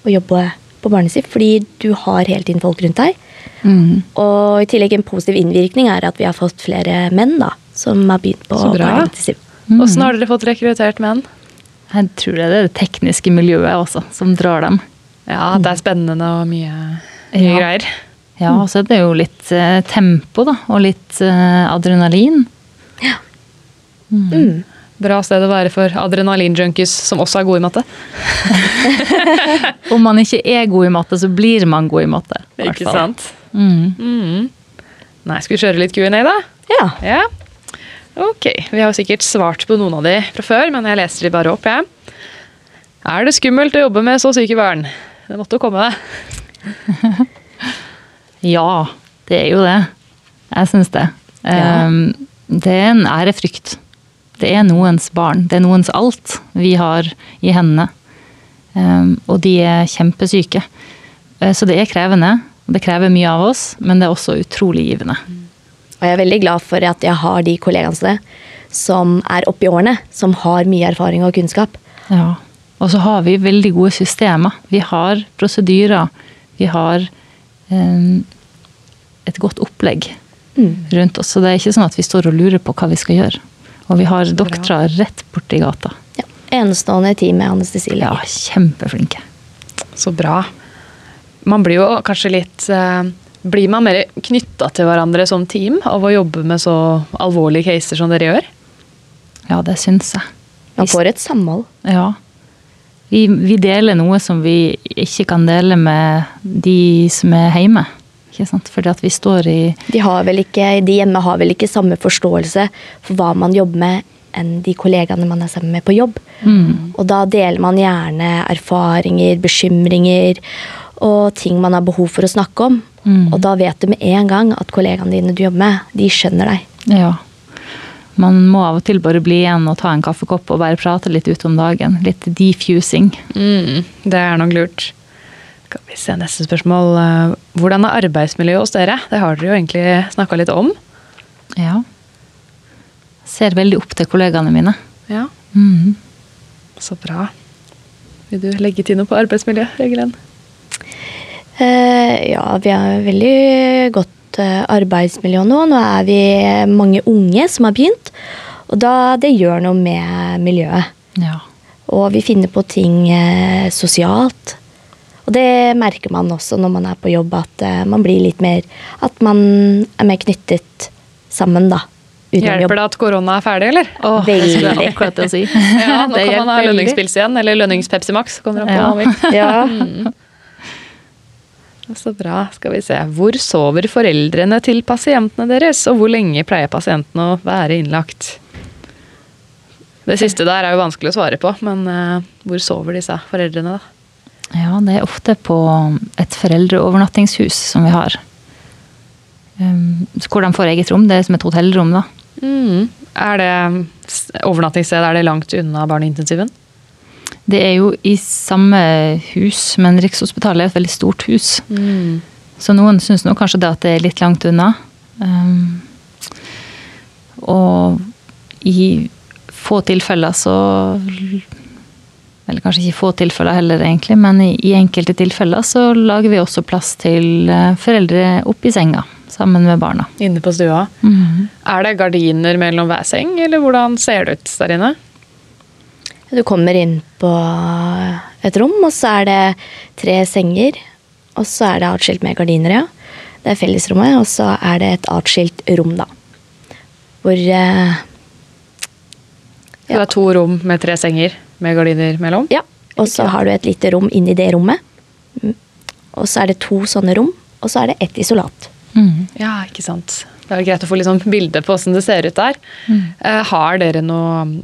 å jobbe på barnesiv, fordi du har hele tiden folk rundt deg. Mm. Og i tillegg en positiv innvirkning er at vi har fått flere menn da, som har begynt på Så bra. barneintensiv. Mm. Åssen har dere fått rekruttert menn? Jeg tror det er det tekniske miljøet også som drar dem. Ja, det er spennende og mye, mye Ja. greier. Ja, Mm. og så er det jo litt eh, tempo, da. Og litt eh, adrenalin. Mm. Mm. Bra sted å være for adrenalinjunkies som også er gode i matte. Om man ikke er god i matte, så blir man god i matte. i hvert fall. Mm. Nei, skal vi kjøre litt Q&A da? Ja. Ja. Ok, vi har jo sikkert svart på noen av de fra før, men jeg leser de bare opp, jeg. Er det skummelt å jobbe med så syke barn? Det måtte jo komme, det. Ja, det er jo det. Jeg syns det. Ja. Ehm, det er en ærefrykt. Det er noens barn. Det er noens alt vi har i hendene. Ehm, og de er kjempesyke. Eh, Så det er krevende. Det krever mye av oss, men det er også utrolig givende. Og jeg er veldig glad for at jeg har de kollegaene som er oppe i årene, som har mye erfaring og kunnskap. Ja. Og så har vi veldig gode systemer. Vi har prosedyrer. Vi har eh, et godt opplegg rundt oss. Så det er ikke sånn at vi står og lurer på hva vi skal gjøre. Og vi har doktorer rett borti gata. Ja. Enestående team med anestesileger. Ja, kjempeflinke. Så bra. Man blir jo kanskje litt eh, Blir man mer knytta til hverandre som team av å jobbe med så alvorlige caser som dere gjør? Ja, det syns jeg. Man får et samhold. Ja. Vi, vi deler noe som vi ikke kan dele med de som er hjemme. Ikke sant? Fordi at vi står i De, har vel ikke, de hjemme har vel ikke samme forståelse for hva man jobber med, enn de kollegaene man er sammen med på jobb. Mm. Og da deler man gjerne erfaringer, bekymringer og ting man har behov for å snakke om. Og da vet du med en gang at kollegaene dine du jobber med, de skjønner deg. Ja. Man må av og til bare bli igjen og ta en kaffekopp og bare prate litt ut om dagen. Litt defusing. Mm, det er nok lurt. Skal vi se neste spørsmål. Eh, Hvordan er arbeidsmiljøet hos dere? Det har dere jo egentlig snakka litt om. Ja. Ser veldig opp til kollegaene mine. Ja. Mhm. Så bra. Vil du legge til noe på arbeidsmiljø, Regelen? Eh, ja, vi har veldig godt eh, arbeidsmiljø nå. Nå er vi mange unge som har begynt, og da, det gjør noe med miljøet. Ja. Og vi finner på ting eh, sosialt. Og det merker man også når man er på jobb, at eh, man blir litt mer At man er mer knyttet sammen, da. Utenom Hjelper jobb. det at korona er ferdig, eller? Åh, jeg skulle Veldig. akkurat til å si. Ja, nå Det kan man ha hjelper veldig. lønningspils igjen, eller lønnings-Pepsi Max. Kommer an på Ja. hva man vil. Mm. Ja. Så bra. Skal vi se. Hvor sover foreldrene til pasientene deres, og hvor lenge pleier pasientene å være innlagt? Det siste der er jo vanskelig å svare på, men eh, hvor sover disse foreldrene, da? Ja, det er ofte på et foreldreovernattingshus som vi har. Um, så hvor de får eget rom. Det er som et hotellrom, da. Mm. Er det s- overnattingssted? Er det langt unna barneintensiven? Det er jo i samme hus, men Rikshospitalet er et veldig stort hus. Mm. Så noen syns nå kanskje det at det er litt langt unna. Um, og i få tilfeller så Eller kanskje ikke i få tilfeller heller, egentlig, men i, i enkelte tilfeller så lager vi også plass til eh, foreldre oppi senga sammen med barna. Inne på stua? Er det gardiner mellom hver seng, eller hvordan ser det ut der inne? Du kommer inn på eh, et rom, og så er det tre senger. Og så er det atskilt med gardiner, ja. Det er fellesrommet, og så er det et atskilt rom, da. Hvor eh, Så Det er to rom med tre senger med gardiner mellom? Ja. Og så har du et lite rom inni det rommet. Mm. Og så er det to sånne rom, og så er det ett isolat. Mm. Ja, ikke sant. Det er greit å få litt sånn bilde på hvordan det ser ut der. Mm. Eh, Har dere noe um,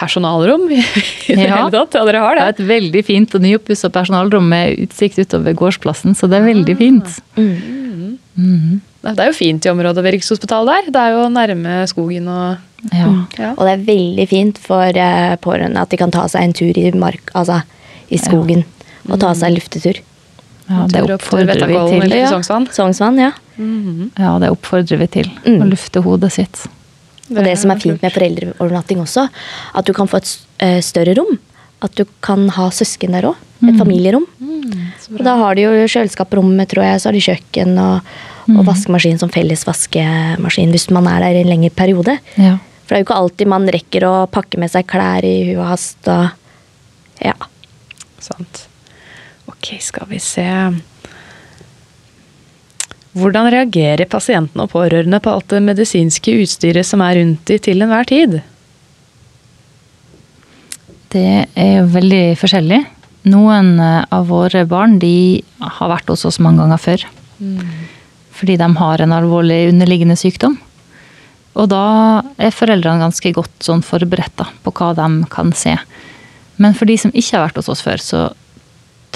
personalrom i i det Ja. hele tatt? Ja, dere har Det det. er et veldig fint og nyoppussa personalrom med utsikt utover gårdsplassen, så det er Ah. veldig fint. Mm, Det er jo fint i området ved Rikshospitalet der. Det er jo nærme skogen og Ja. ja. Og det er veldig fint for eh, pårørende at de kan ta seg en tur i, mark, altså, i skogen. Og ta seg en luftetur. Ja, Tur det opp til oppfordrer vi Vettakollen til. Mm. eller Sånn? Sognsvann. Sognsvann, ja. Ja, det oppfordrer vi til. Mm. Å lufte hodet sitt. Og det som er fint med foreldreovernatting også, at du kan få et s- eh, større rom. At du kan ha søsken der òg. Et familierom. Og da har de jo kjøleskapsrommet, tror jeg, så har de kjøkken og, og vaskemaskin som felles vaskemaskin hvis man er der i en lengre periode. Ja. For det er jo ikke alltid man rekker å pakke med seg klær i huet og hast. Og, ja. Sant. Ok, skal vi se. Hvordan reagerer pasientene og pårørende på alt det medisinske utstyret som er rundt de til enhver tid? Det er jo veldig forskjellig. Noen eh, av våre barn de har vært hos oss mange ganger før. Fordi de har en alvorlig underliggende sykdom. Og da er foreldrene ganske godt sånn forberedt da, på hva de kan se. Men for de som ikke har vært hos oss før, så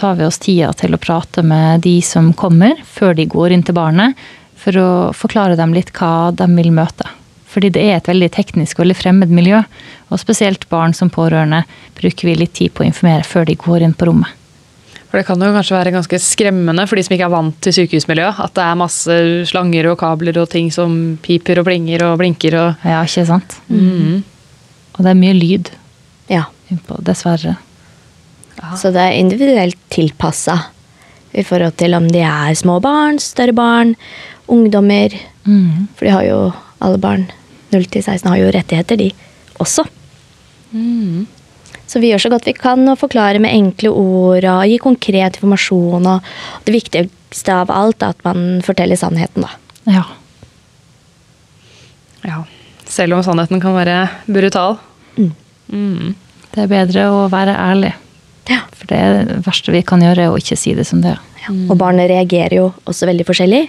tar vi oss tida til å prate med de som kommer, før de går inn til barnet, for å forklare dem litt hva de vil møte. Fordi det er et veldig teknisk og veldig fremmed miljø, og spesielt barn som pårørende bruker vi litt tid på å informere før de går inn på rommet. For Det kan jo kanskje være ganske skremmende for de som ikke er vant til sykehusmiljø, at det er masse slanger og kabler og ting som piper og plinger og blinker og Ja, ikke sant? Og det er mye lyd ja. innpå, dessverre. Så det er individuelt tilpassa i forhold til om de er små barn, større barn, ungdommer. Mm. For de har jo alle barn 0 til 16 har jo rettigheter, de også. Så vi gjør så godt vi kan og forklarer med enkle ord og gir konkret informasjon. Og det viktigste av alt er at man forteller sannheten, da. Ja. Ja. Selv om sannheten kan være brutal. Mm. Det er bedre å være ærlig. Ja. For det er det verste vi kan gjøre, er å ikke si det som det er. Ja. Og barnet reagerer jo også veldig forskjellig.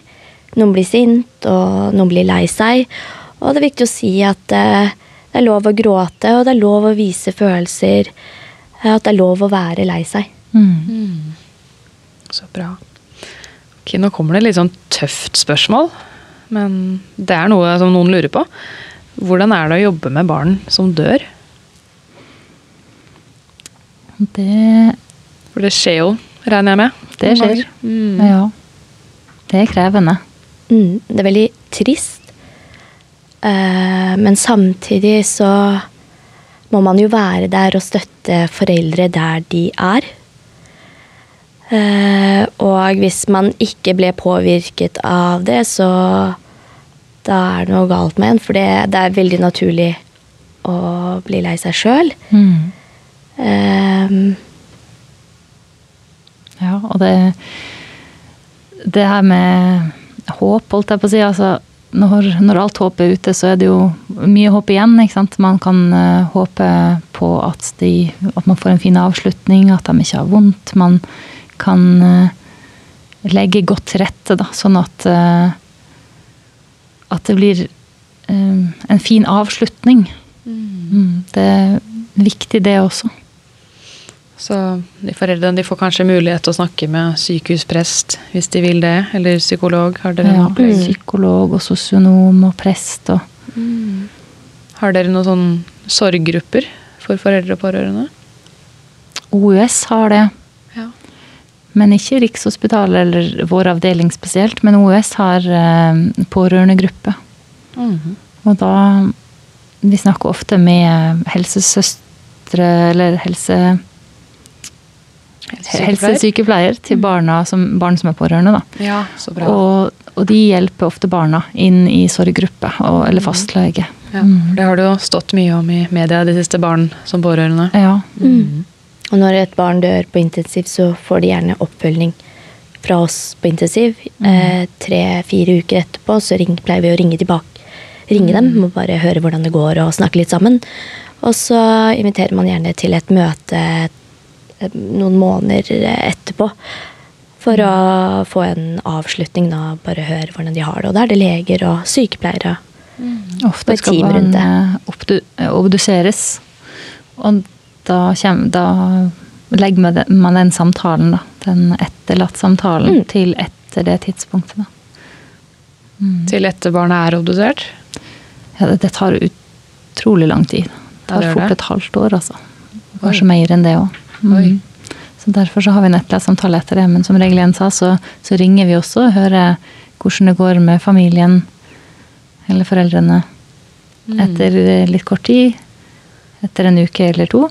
Noen blir sint, og noen blir lei seg. Og det er viktig å si at eh, det er lov å gråte, og det er lov å vise følelser. eh, At det er lov å være lei seg. Mm. Så bra. Ok, nå kommer det litt sånn tøft spørsmål, men det er noe som noen lurer på. Hvordan er det å jobbe med barn som dør? Det, For det skjer jo, regner jeg med. det noen skjer. ganger. Mm. Ja. Det er krevende. Mm, det er veldig trist. Eh, men samtidig så må man jo være der og støtte foreldre der de er. Eh, og hvis man ikke ble påvirket av det, så da er det noe galt med en. For det, det er veldig naturlig å bli lei seg sjøl. Mm. Eh, Ja, og det Det her med håp, holdt jeg på å si. Altså, når, når alt håp er ute, så er det jo mye håp igjen. ikke sant? Man kan eh, håpe på at, de, at man får en fin avslutning, at de ikke har vondt. Man kan eh, legge godt til rette, da, sånn at eh, At det blir eh, en fin avslutning. Mm, det er viktig, det også. Så de foreldrene de får kanskje mulighet til å snakke med sykehusprest hvis de vil det, eller psykolog. Har dere, Ja, Mm. noe- psykolog og sosionom og prest og har dere noen sånn sorggrupper for foreldre og pårørende? OUS har det. Ja. Men ikke Rikshospitalet eller vår avdeling spesielt. Men OUS har eh, pårørendegruppe. Mhm. Og da Vi snakker ofte med helsesøstre eller helse, helsesykepleier til barna som, barn som er pårørende, da. Mm. Ja, så bra. Og, og de hjelper ofte barna inn i sorggruppe og, eller fastlege. Mm. Mm. ja, for det har det jo stått mye om i media de siste barn som pårørende. Ja. Og når et barn dør på intensiv, så får de gjerne oppfølging fra oss på intensiv. Eh, Tre-fire uker etterpå så ring, pleier vi å ringe tilbake. Ringe dem og bare høre hvordan det går og snakke litt sammen. Og så inviterer man gjerne til et møte eh, noen måneder etterpå. For å få en avslutning, da. Bare høre hvordan de har det. Og da er det leger og sykepleiere. Og Mm. Ofte et skal team barn rundt det. eh, obdu- eh, obduseres. Og da, kjem, da legger man den, man den samtalen, da. Den etterlatt-samtalen til etter det tidspunktet, da. Til etter barnet er obdusert. Ja, det, det tar utrolig lang tid. Det Ja, tar det gjør fort det. et halvt år, altså. Oi. Kanskje mer enn det òg. Oi. Så derfor så har vi en etterlatt-samtale etter det. Men som regel igjen sa, så, så ringer vi også og hører hvordan det går med familien eller foreldrene Mm. Mm. etter eh, litt kort tid. Etter en uke eller to.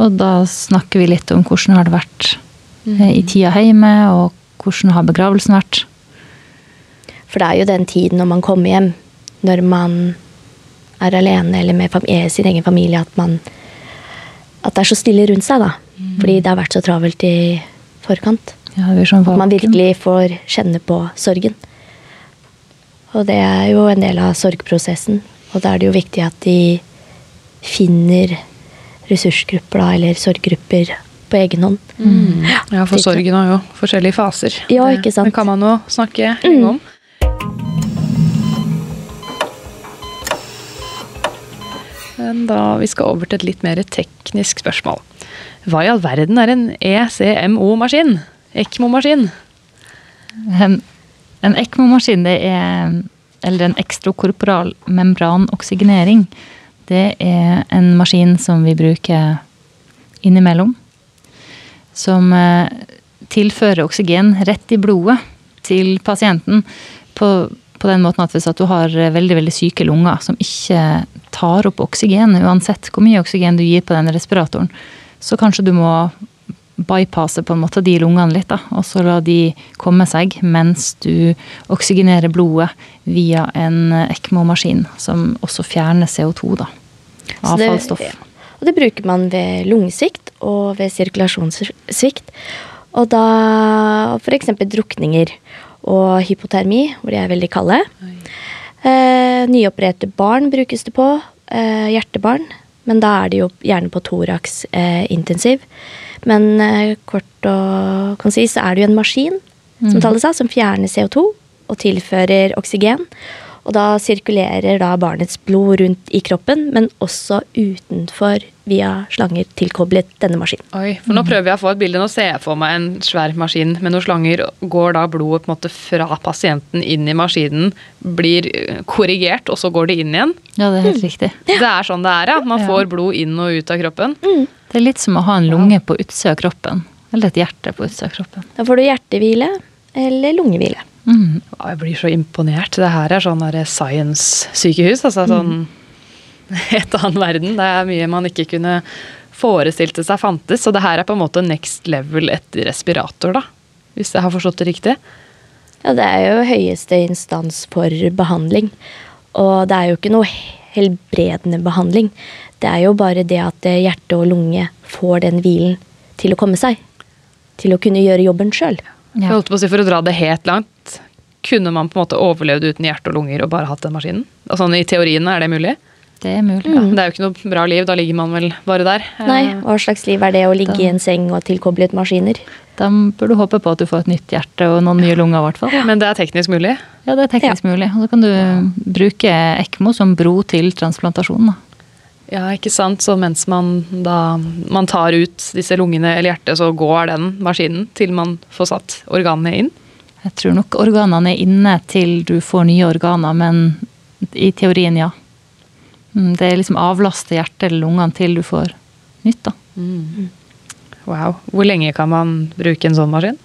Og da snakker vi litt om hvordan har det vært eh, Mm. i tida hjemme, og hvordan har begravelsen vært. For det er jo den tiden når man kommer hjem, når man er alene eller med fam- eh, sin egen familie, at, man, at det er så stille rundt seg. da. Fordi det har vært så travelt i forkant. Ja, det blir sånn At man vakuum. virkelig får kjenne på sorgen. Og det er jo en del av sorgprosessen. Og da er det jo viktig at de finner ressursgrupper da, eller sorggrupper på egen hånd. Ja, for sorgen har jo forskjellige faser. Ja, Det- ikke sant. Mm. Det kan man jo snakke lenge om. Men da vi skal over til et litt mer teknisk spørsmål. Hva i all verden er en E ECMO-maskin? ECMO-maskin? En, en ECMO-maskin, det er Eller en ekstrokorporal membranoksygenering. Det er en maskin som vi bruker innimellom. Som eh, tilfører oksygen rett i blodet til pasienten. På, på den måten at hvis at du har eh, veldig veldig syke lunger som ikke tar opp oksygen, uansett hvor mye oksygen du gir på den respiratoren, så kanskje du må bypasse på en måte de lungene litt, da, og så la de komme seg mens du oksygenerer blodet via en ECMO-maskin, som også fjerner CO2, da. Så det- Avfallsstoff. ja. Og det bruker man ved lungesvikt og ved sirkulasjonssvikt. Og da f.eks. drukninger og hypotermi, hvor de er veldig kalde. Eh, nyopererte barn brukes det på. Eh, hjertebarn. Men da er de jo gjerne på thorax eh, intensiv. Men eh, kort og konsist så er det jo en maskin som tallet sa, som fjerner CO2 og tilfører oksygen. Og da sirkulerer da barnets blod rundt i kroppen, men også utenfor via slanger tilkoblet denne maskinen. Oi, for Nå Mm. prøver jeg å få et bilde. Nå ser jeg for meg en svær maskin med noen slanger. Går da blodet på en måte fra pasienten inn i maskinen, blir eh, korrigert, og så går det inn igjen? Ja, det er Mm. helt riktig. Det er sånn det er, ja. Man får blod inn og ut av kroppen. Det er litt som å ha en lunge på utsida av kroppen. Eller et hjerte på utsida av kroppen. Da får du hjertehvile eller lungehvile. Mm. Å, Jeg blir så imponert. Det her er sånn der science-sykehus. Altså sånn et annen verden. Det er mye man ikke kunne forestilte seg fantes. Så det her er på en måte next level etter respirator, da. Hvis jeg har forstått det riktig. Ja, det er jo høyeste instans for behandling. Og det er jo ikke noe helbredende behandling. Det er jo bare det at eh, hjerte og lunge får den hvilen til å komme seg. Til å kunne gjøre jobben sjøl. Ja. Jeg holdt på å si For å dra det helt langt, kunne man på en måte overlevd uten hjerte og lunger og bare hatt den maskinen? Og sånn I teorien er det mulig? Det er mulig. Ja, Det er jo ikke noe bra liv, da ligger man vel bare der. Eh, Nei, hva slags liv er det å ligge i en seng og tilkoblet maskiner? Da bør du håpe på at du får et nytt hjerte og noen nye lunger, i hvert fall. Men det er teknisk mulig. Ja, det er teknisk mulig. Og så kan du bruke ECMO som bro til transplantasjon. Da. Ja, ikke sant? Så mens man da man tar ut disse lungene eller hjertet, så går den maskinen til man får satt organene inn. Jeg tror nok organene er inne til du får nye organer, men i teorien, ja. Mm, Det er liksom avlaste hjertet eller lungene til du får nytt, da. Wow. Hvor lenge kan man bruke en sånn maskin?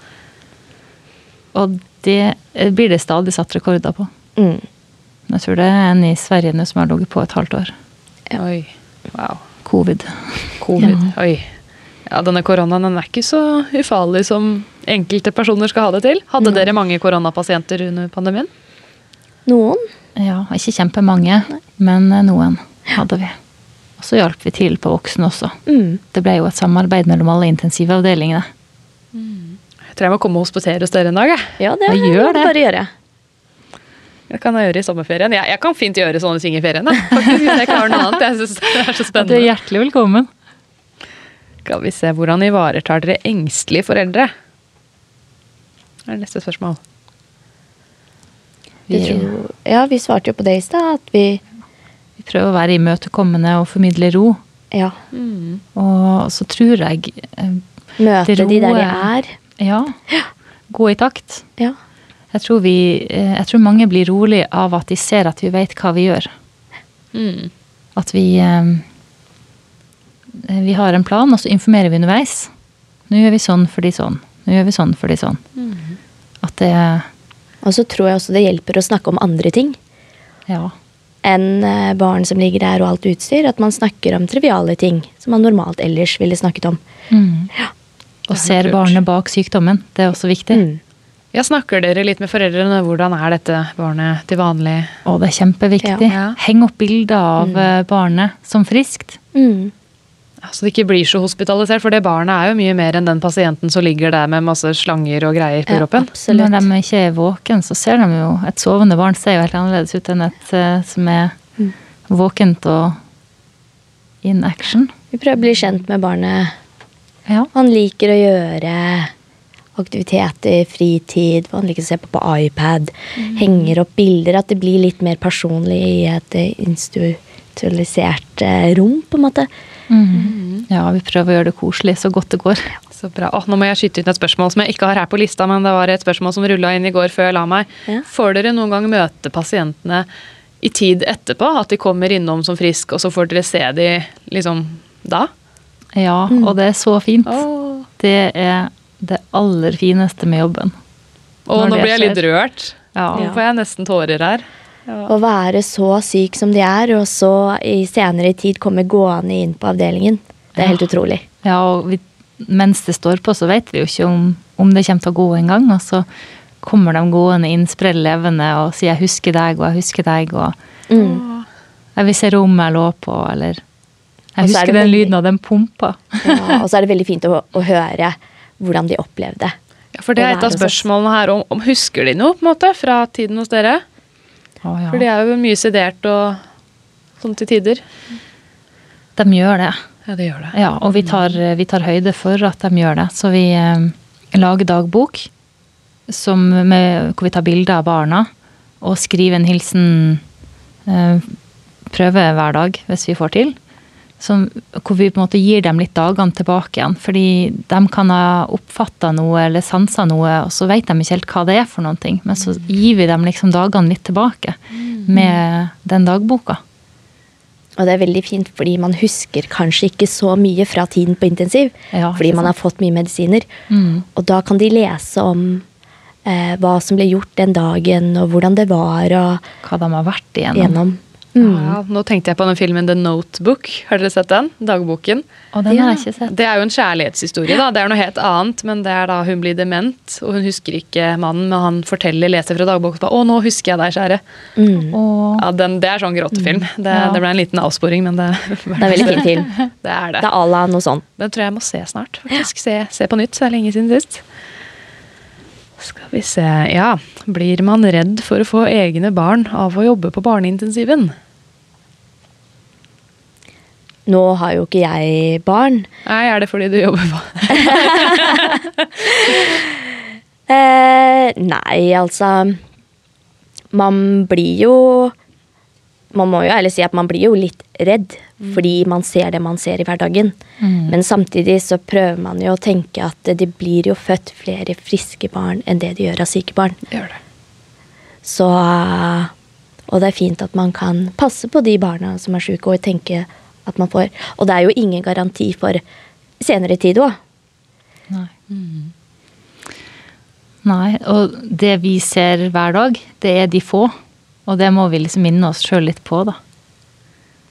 Og det eh, blir det stadig satt rekorder på. Mm. Jeg tror det er en i Sverige nå som har ligget på et halvt år. Oi. Wow. Covid. Covid. Oi. Ja, denne koronaen den er ikke så ufarlig som enkelte personer skal ha det til. Hadde dere mange koronapasienter under pandemien? Noen Ja, ikke kjempemange, men eh, noen hadde vi. Og så hjalp vi til på voksne også. Mm. Det ble jo et samarbeid mellom alle intensivavdelingene. Jeg tror jeg må komme og hospitere hos dere en dag. Jeg. Ja, det Ja, gjør må du det. bare gjøre. Det kan jeg gjøre i sommerferien. Jeg, jeg kan fint gjøre sånne ting i ferien. Da. Faktisk, hvis jeg klarer noe annet. Jeg synes det er så Du er spennende. hjertelig velkommen. Skal vi se, hvordan ivaretar dere engstelige foreldre? Det er neste spørsmål. Vi, tror, ja, vi svarte jo på det i stad, at vi Vi prøver å være imøtekommende og formidle ro. ja, Mm. Og så tror jeg eh, møter det de der de roer- er. Ja. Gå i takt. Ja. Jeg tror, vi, eh, jeg tror mange blir rolig av at de ser at vi vet hva vi gjør. At vi eh, Vi har en plan, og så informerer vi underveis. Nå gjør vi sånn fordi sånn. Nå gjør vi sånn fordi sånn. At det Og så tror jeg også det hjelper å snakke om andre ting Ja. enn eh, barn som ligger der og alt utstyr. At man snakker om triviale ting som man normalt ellers ville snakket om. Mm. Og ser kult. barnet bak sykdommen. Det er også viktig. Mm. Ja, snakker dere litt med foreldrene? Hvordan er dette barnet til vanlig? Og det er kjempeviktig. Ja. Heng opp bilder av eh, barnet som friskt. Mm. Ja, Så Altså, det ikke blir så hospitalisert, for det barnet er jo mye mer enn den pasienten som ligger der med masse slanger og greier på Ja, kroppen. absolutt. Når de ikke er våken, så ser de jo Et sovende barn ser jo helt annerledes ut enn et eh, som er våkent og in action. Vi prøver å bli kjent med barnet. Ja. Hva han liker å gjøre. Aktiviteter, fritid, hva han liker å se på på iPad. Henger opp bilder. At det blir litt mer personlig i et eh, institusjonalisert eh, rom, på en måte. Mm. ja, vi prøver å gjøre det koselig så godt det går. Så bra. Åh, nå må jeg skyte inn et spørsmål som jeg ikke har her på lista, men det var et spørsmål som rulla inn i går før jeg la meg. Ja. Får dere noen gang møte pasientene i tid etterpå? At de kommer innom som frisk, og så får dere se de liksom da? Ja, og det er så fint. Åh. Det er det aller fineste med jobben. Og Når nå det blir jeg litt skjer. rørt. Ja. Nå får jeg nesten tårer her. Å være så syk som de er, og så i senere tid komme gående inn på avdelingen. Det er helt utrolig. Ja, og vi mens det står på, så vet vi jo ikke om, om det kommer til å gå engang. Og så kommer de gående inn, sprell levende, og sier 'jeg husker deg', og 'jeg husker deg', og Mm. Åh. 'jeg vil se rommet jeg lå på', eller 'jeg Og så er husker det den veldig- lyden av den pumpa'. Ja, og så er det veldig fint å, å høre hvordan de opplevde. Ja, for det er et av spørsmålene her. Om, om husker de noe på en måte, fra tiden hos dere? Å, ja. For de er jo mye sedert og sånn til tider. De gjør det. Ja, det gjør det. Ja, og vi tar, eh, vi tar høyde for at de gjør det. Så vi eh, lager dagbok som med, hvor vi tar bilder av barna og skriver en hilsen eh, Prøve hver dag, hvis vi får til. Som, hvor vi på en måte gir dem litt dagene tilbake igjen. Fordi de kan ha oppfatta noe eller sansa noe, og så vet de ikke helt hva det er for noen ting. Men så gir vi dem liksom dagene litt tilbake med den dagboka. Og det er veldig fint, fordi man husker kanskje ikke så mye fra tiden på intensiv. Ja, fordi ikke Mm. man har fått mye medisiner. Og da kan de lese om eh, hva som ble gjort den dagen, og hvordan det var og Hva de har vært igjennom. gjennom. Ja, nå tenkte jeg på den filmen The Notebook. Har dere sett den? Dagboken. Og den har jeg ikke sett. Det er jo en kjærlighetshistorie, da. Det er noe helt annet, men det er da hun blir dement, og hun husker ikke mannen, men han forteller, leser fra dagboken, og 'Å, nå husker jeg deg, kjære'. Og Ja, den, det er sånn gråtefilm. Det, Ja. det ble en liten avsporing, men det Det er en veldig fin film. Det er Det det. er à la noe sånt. Den tror jeg jeg må se snart, faktisk. Se, se på nytt. Det er lenge siden sist. Skal vi se Ja. Blir man redd for å få egne barn av å jobbe på barneintensiven? Nå har jo ikke jeg barn. Nei, er det fordi du jobber på Eh, nei, altså Man blir jo Man må jo ærlig si at man blir jo litt redd, Mm. fordi man ser det man ser i hverdagen. Men samtidig så prøver man jo å tenke at det blir jo født flere friske barn enn det de gjør av syke barn. Gjør det. Så eh, Og det er fint at man kan passe på de barna som er syke, og tenke at man får Og det er jo ingen garanti for senere tid òg. Nei. Mm. Nei, og det vi ser hver dag, det er de få. Og det må vi liksom minne oss sjøl litt på, da.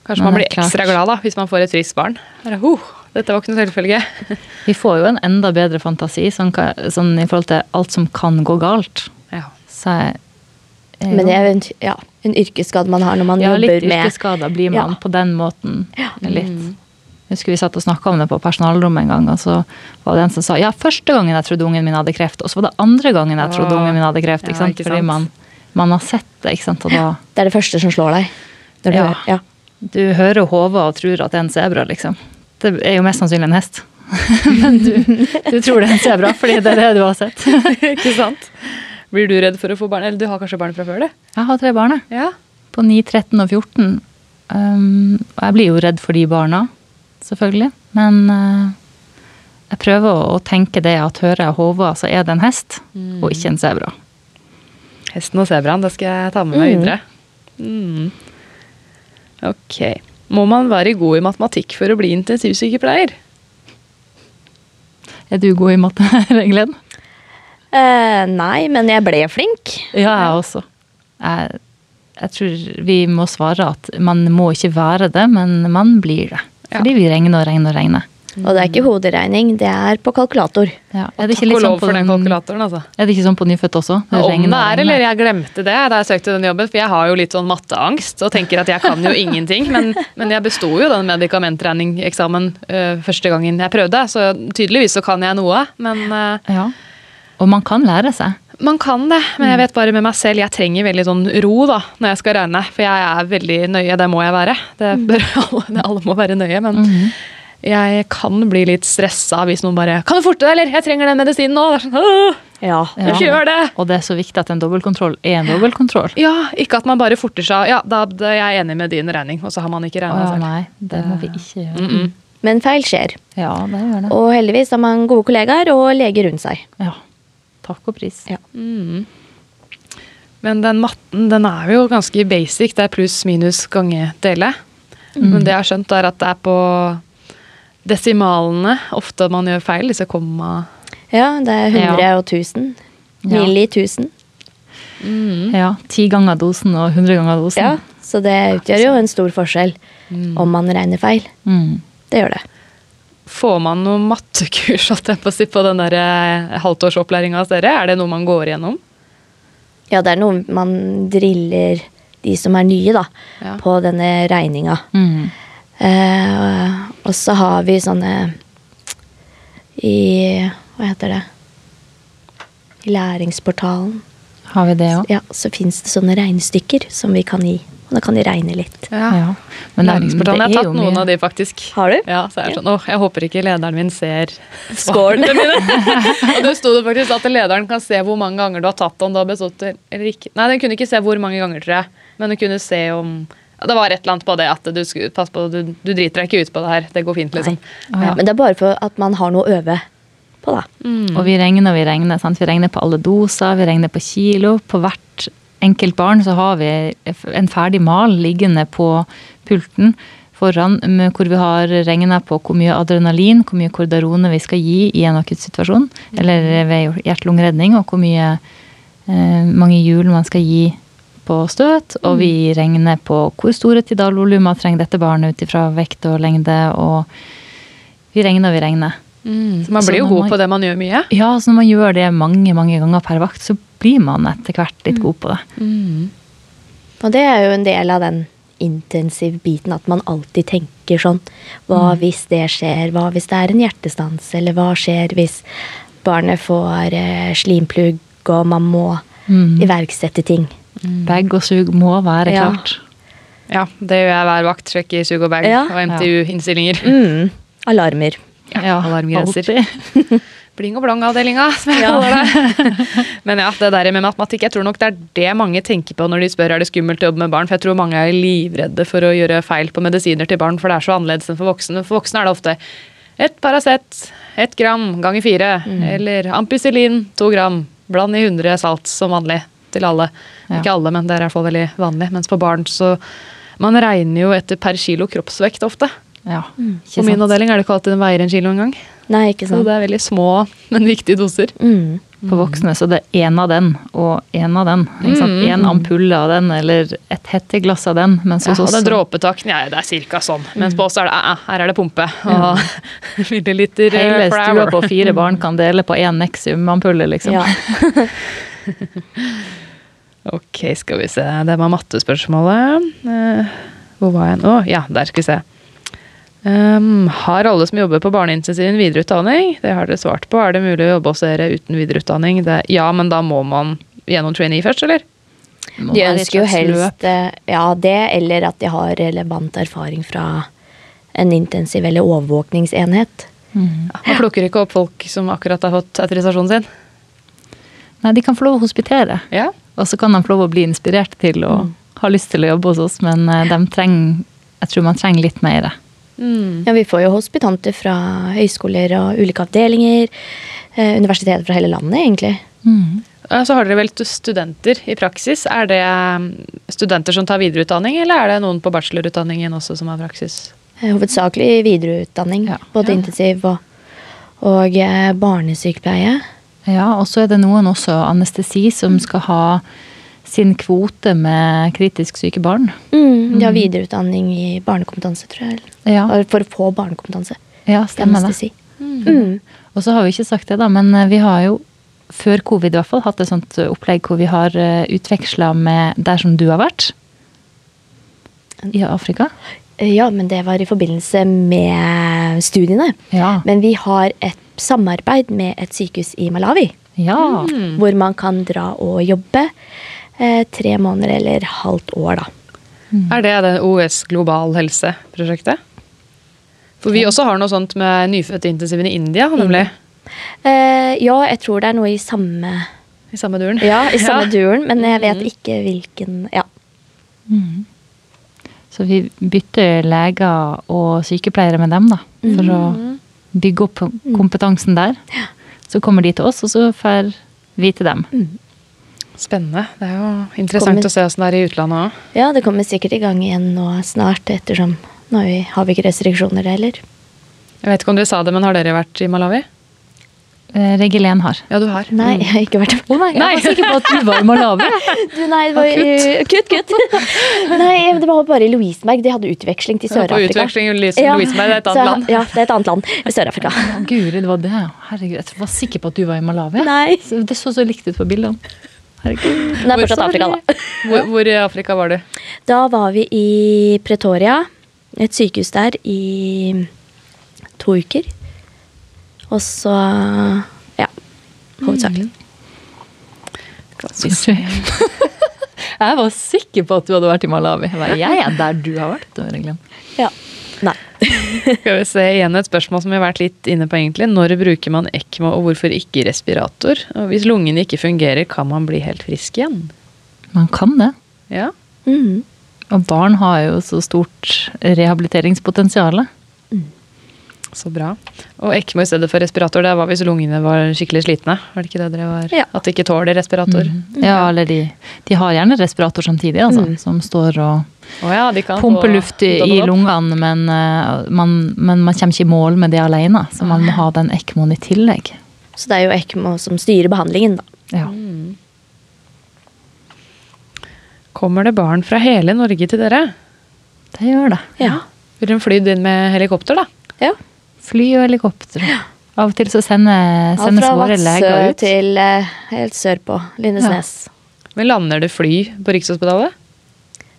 Kanskje Men man det blir er klart. ekstra glad da, hvis man får et friskt barn. Bare, «Ho, dette var ikke noe selvfølge. Vi får jo en enda bedre fantasi sånn, ka- sånn i forhold til alt som kan gå galt. Ja. Så jeg, jeg Men det er jo en, ja, en yrkesskade man har når man Eh, ja, litt jobber med yrkesskader blir man Ja. på den måten. Ja. Mm. Litt. Jeg husker vi satt og snakka om det på personalrommet en gang, og så var det en som sa ja, første gangen jeg trodde ungen min hadde kreft, og så var det andre gangen jeg trodde Åh. ungen min hadde kreft. Ja, Ikke sant? ikke Fordi sant. man, man har sett det, ikke sant. Og da Det er det første som slår deg. Når du Ja. hører- ja. Du hører hodet og tror at det er en sebra, liksom. Det er jo mest sannsynlig en hest. Men du, du tror det er en sebra, fordi det er det du har sett. ikke sant? Blir du redd for å få barn? Eller du har kanskje barn fra før det? Jeg har tre barn, jeg. Ja. På 9, 13 og 14. Um, og jeg blir jo redd for de barna, selvfølgelig. Men eh, jeg prøver å, å tenke det at hører jeg hodet, så er det en hest, og ikke en sebra. Hesten og sebraen, det skal jeg ta med meg videre. Mm. Ok. Må man være god i matematikk for å bli intensivsykepleier? Er du god i matte, Glenn? Eh, nei, men jeg ble flink. Ja, jeg også. Jeg, jeg tror vi må svare at man må ikke være det, men man blir det. Fordi vi regner og regner og regner. Og det er ikke hoderegning, det er på kalkulator. Er, det ikke Takk litt og sånn lov på for den den- kalkulatoren, altså. er det ikke sånn på nyfødt også? Det Om regner det og er, regner. eller jeg glemte det da jeg søkte den jobben, for jeg har jo litt sånn matteangst og tenker at jeg kan jo ingenting, men, men jeg besto jo den medikamentregningseksamen øh, første gangen jeg prøvde, så tydeligvis så kan jeg noe, men øh, Ja. Og man kan lære seg. man kan det, men Mm. jeg vet bare med meg selv, jeg trenger veldig sånn ro da, når jeg skal regne, for jeg er veldig nøye, det må jeg være. Det Mm. bør alle, det- alle må være nøye, men Mhm. jeg kan bli litt stressa hvis noen bare, kan du forte deg, eller jeg trenger den medisinen nå, det er sånn, «Åh, Ja. jeg ikke gjør det. Og det er så viktig at en dobbeltkontroll er en dobbeltkontroll. Ja, ikke at man bare forter seg. Ja, da da er jeg enig med din regning, og så har man ikke Å regna ja, selv. nei, det må vi ikke gjøre. Men feil skjer. Ja, det gjør det. Og heldigvis har man gode kollegaer og leger rundt seg. Ja. Takk og pris. Ja. Men den matten, den er jo ganske basic. Det er pluss, minus, gange, dele. Men det jeg har skjønt, er at det er på desimalene ofte man gjør feil. Disse komma Ja, det er 100 Ja. og 1000. Ja. Milli 1000. Ja, Ti ganger dosen og hundre ganger dosen. Ja, så det utgjør jo en stor forskjell om man regner feil. Mm. Det gjør det. Får man noe mattekurs holdt jeg på, å si, på den der, eh, halvtårsopplæringa hos dere? Er det noe man går igjennom? Ja, det er noe man driller de som er nye, da, Ja. på denne regninga. Mm. Eh, og så har vi sånne i Hva heter det? I læringsportalen. Har vi det òg? Ja, så fins det sånne regnestykker som vi kan gi. Og da kan de regne litt. Ja. Men det- Næringsportalen. Jeg det har er jo tatt noen mye- av de, faktisk. Har du? Ja, så er det Ja. sånn, åh, jeg håper ikke lederen min ser Skålen. svarene mine. og det sto det faktisk at lederen kan se hvor mange ganger du har tatt om du har bestått eller ikke. Nei, den kunne ikke se hvor mange ganger, tror jeg. Men den kunne se om ja, Det var et eller annet på det at du skulle pass på, du, du driter deg ikke ut på det her. Det går fint, liksom. Å, ja. Men det er bare for at man har noe å øve på, da. Og vi regner og vi regner. Sant? Vi regner på alle doser, vi regner på kilo. På hvert enkelt barn så har vi en ferdig mal liggende på pulten foran, med- hvor vi har regna på hvor mye adrenalin, hvor mye kordarone vi skal gi i en akuttsituasjon, eller ved hjerte-lungeredning, og hvor mye, eh, mange hjul man skal gi på støt. Og vi regner på hvor store tidalvolumer trenger dette barnet ut ifra vekt og lengde, og vi regner og vi regner. Så man blir jo Mm. Så man god må- på det man gjør mye. Ja, så når man gjør det mange mange ganger per vakt, så blir man etter hvert litt god på det. Og det er jo en del av den intensive biten, at man alltid tenker sånn Hva Mm. hvis det skjer? Hva hvis det er en hjertestans? Eller hva skjer hvis barnet får eh, slimplugg, og man må Mm. iverksette ting? Bag og sug må være Ja. klart. Ja, Det gjør jeg hver vakt. Sjekker sug og bag Ja. og MTU-innstillinger. Mm. Alarmer. Ja, alarmgrenser. Bling og blong-avdelinga, som jeg kaller det. Men ja, det der med matematikk, jeg tror nok det er det mange tenker på når de spør er det skummelt å jobbe med barn, for jeg tror mange er livredde for å gjøre feil på medisiner til barn, for det er så annerledes enn for voksne. For voksne er det ofte et Paracet, ett gram ganger fire, Mm. eller ampicillin, to gram, bland i 100 salt som vanlig til alle. Ja. Ikke alle, men det er i hvert fall veldig vanlig. Mens på barn så man regner jo etter per kilo kroppsvekt ofte. Ja, På ikke min sant. avdeling er det ikke alltid den veier en kilo engang. Nei, Så ikke sant? det er veldig små, men viktige doser. Mm. På voksne så det er én av den og én av den. Ikke sant? En ampulle av den eller et hetteglass av den. Mens Ja, hos og oss den dråpetakten, ja, det er cirka sånn. Mens på oss er det, eh, eh, her er det pumpe. Og milliliter eh, hele per stua hour. på fire barn kan dele på én Nexium-ampulle, liksom. Ja. Ok, skal vi se. Det var mattespørsmålet. Eh, Hvor var jeg nå? Å, ja, der skal vi se. Um, har alle som jobber på barneintensiven videreutdanning? Det har dere svart på. Er det mulig å jobbe hos dere uten videreutdanning? Det, ja, men da må man gjennom trainee først, eller? Må De være et ønsker jo slags løp. helst eh, ja, det, eller at de har relevant erfaring fra en intensiv eller overvåkningsenhet. Mhm. Man plukker ikke opp folk som akkurat har fått autorisasjonen sin. Nei, de kan få lov å hospitere. Ja, Og så kan de få lov å bli inspirert til å ha lyst til å jobbe hos oss, men eh, de trenger, jeg tror man trenger litt mer. Mm. Mm. Ja, vi får jo hospitanter fra høyskoler og ulike avdelinger. Eh, universiteter fra hele landet, egentlig. Mm. Ja, Eh, Så har dere vel studenter i praksis. Er det mm, studenter som tar videreutdanning, eller er det noen på bachelorutdanningen også som har praksis? Eh, hovedsakelig videreutdanning. Ja. Både intensiv og, og eh, barnesykepleie. Ja, og så er det noen også anestesi Mm. som skal ha sin kvote med kritisk syke barn. De har videreutdanning i barnekompetanse, tror jeg. eller- Ja. Eller For å få barnekompetanse. Ja, stemmer det. Anestesi. Mm. Og så har vi ikke sagt det, da, men eh, vi har jo før covid i hvert fall hatt et sånt eh, opplegg hvor vi har utveksla med der som du har vært. I Afrika. Eh, Ja, men det var i forbindelse med studiene. Ja. Men vi har et samarbeid med et sykehus i Malawi. Ja. Hvor man kan dra og jobbe eh, tre måneder eller halvt år, da. Mm. Er det det OS Global Helse-prosjektet? For vi også har noe sånt med nyfødteintensiven i India, Mm. nemlig. Eh, ja, jeg tror det er noe i samme I samme duren. Ja, i samme duren, men jeg vet ikke hvilken Ja. Mm. Så vi bytter leger og sykepleiere med dem, da. For å bygge opp kompetansen der. Så kommer de til oss, og så får vi til dem. Spennende. Det er jo interessant Kommer- å se åssen det er i utlandet òg. ja, det kommer sikkert i gang igjen nå snart, ettersom nå har vi- har vi ikke restriksjoner heller. Jeg vet ikke om dere sa det, men har dere vært i Malawi? Eh, Regel 1 har. Ja, du har. Mm. Nei, jeg har ikke vært på meg. Jeg var sikker på at du var i Malawi. Du, nei, det var, Akutt. kutt, kutt. nei, det var bare i Lovisenberg. De hadde utveksling til Du er På Sør-Afrika. utveksling i Ja, Lovisenberg, det er et så jeg- annet land. Ja, det er et annet land. Sør-Afrika. Å, Guri, det var det. ja. Herregud, jeg var sikker på at du var i Malawi. Nei. Så Det så så likt ut på bildene. Herregud. Det er fortsatt Afrika, da. Hvor, hvor i Afrika var du? Da var vi i Pretoria, et sykehus der, i to uker. Og så ja, hovedsakelig. Sorry. Jeg var sikker på at du hadde vært i Malawi. Jeg, bare, jeg er der du har vært. Det var regel 1. Ja. Nei. Skal vi se igjen et spørsmål som vi har vært litt inne på egentlig. Når bruker man ECMO, og hvorfor ikke respirator? Og hvis lungene ikke fungerer, kan man bli helt frisk igjen? Man kan det. Ja. Mhm. Og barn har jo så stort rehabiliteringspotensial. Så bra. Og ECMO i stedet for respirator, det var hvis lungene var skikkelig slitne? Var det ikke det dere var? Ja. At de ikke tåler respirator? Å Mhm. Ja, eller de, de har gjerne respirator samtidig, altså. Som står og ja, de kan pumper få luft i, i double up. lungene, men eh, man, men man kommer ikke i mål med det alene. Så man må ha den ECMO-en i tillegg. Så det er jo ECMO som styrer behandlingen, da. Ja. Mm. Kommer det barn fra hele Norge til dere? Det gjør det. Ja. Vil de fly inn med helikopter, da? ja. Fly og helikopter. Av og til så sender, Alt sendes fra våre leger Vadsø ut. til eh, helt sørpå. Lindesnes. Men lander det fly på Rikshospitalet?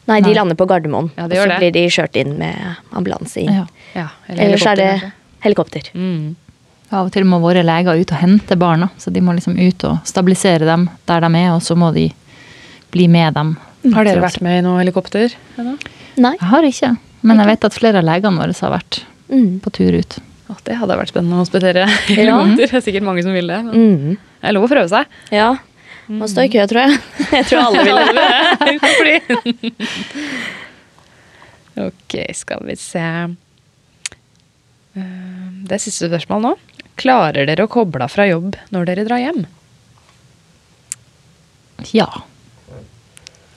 Nei, de Nei. lander på Gardermoen. Ja, og de gjør så det. blir de kjørt inn med ambulanse inn. Ja. Ja, eller Ellers er det helikopter, helikopter. kanskje. Mm. Av og til må våre leger ut og hente barna, så de må liksom ut og stabilisere dem der de er, og så må de bli med dem. Mm. Har dere vært med i noe helikopter? ennå? Nei. Jeg har ikke, men jeg vet at flere av legene våre har vært Mm. på tur ut. Å, det hadde vært spennende å hospitere i helikopter. Det er sikkert mange som vil det. Men Mm. det er lov å prøve seg. Ja. Mm. Må stå i kø, tror jeg. Jeg tror alle vil Fordi det. Ok, skal vi se Eh, Det er siste spørsmål nå. Klarer dere å koble av fra jobb når dere drar hjem? Ja.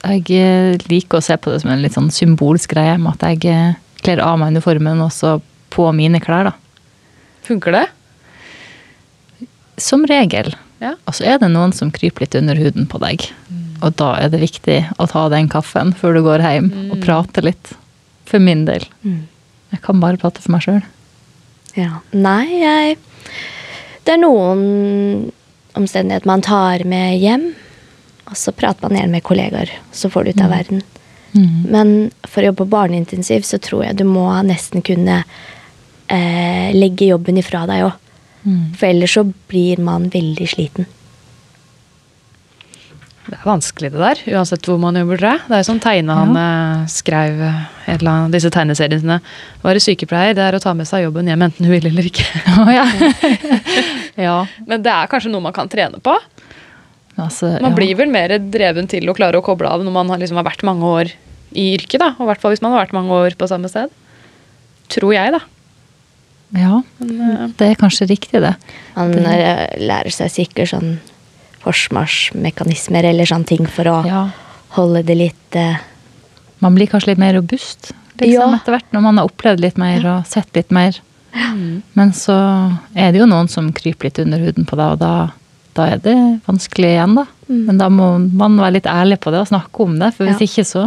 Jeg eh, liker å se på det som en litt sånn symbolsk greie, med at jeg eh, kler av meg uniformen og så på mine klær, da. Funker det? Som regel. Ja. Mm. Og så er det noen som kryper litt under huden på deg. Og da er det viktig å ta den kaffen før du går hjem, Mm. og prate litt. For min del. Jeg kan bare prate for meg sjøl. Ja. Nei, jeg Det er noen omstendigheter man tar med hjem, og så prater man gjerne med kollegaer, så får du ut av Mm. verden. Mm. Men for å jobbe på barneintensiv så tror jeg du må nesten kunne eh, legge jobben ifra deg òg. Mm. For ellers så blir man veldig sliten. Det er vanskelig det der, uansett hvor man jobber, tror jeg. Det er jo sånn tegne han eh, skrev eh, et eller annet, disse tegneseriene sine. Være sykepleier, det er å ta med seg jobben hjem enten du vil eller ikke. ja. ja. Men det er kanskje noe man kan trene på. Men altså, Man ja. blir vel mer dreven til å klare å koble av når man har, liksom, har vært mange år i yrket, da. Og i hvert fall hvis man har vært mange år på samme sted. Tror jeg, da. ja. eh, Det er kanskje riktig, det. Man eh, lærer seg sikkert sånn forsvarsmekanismer eller sånne ting for å Ja. holde det litt eh, Man blir kanskje litt mer robust liksom, Ja. etter hvert, når man har opplevd litt mer og sett litt mer. Mm. Men så er det jo noen som kryper litt under huden på deg, og da, da er det vanskelig igjen, da. Men da må man være litt ærlig på det og snakke om det, for hvis Mm. Ja. ikke så,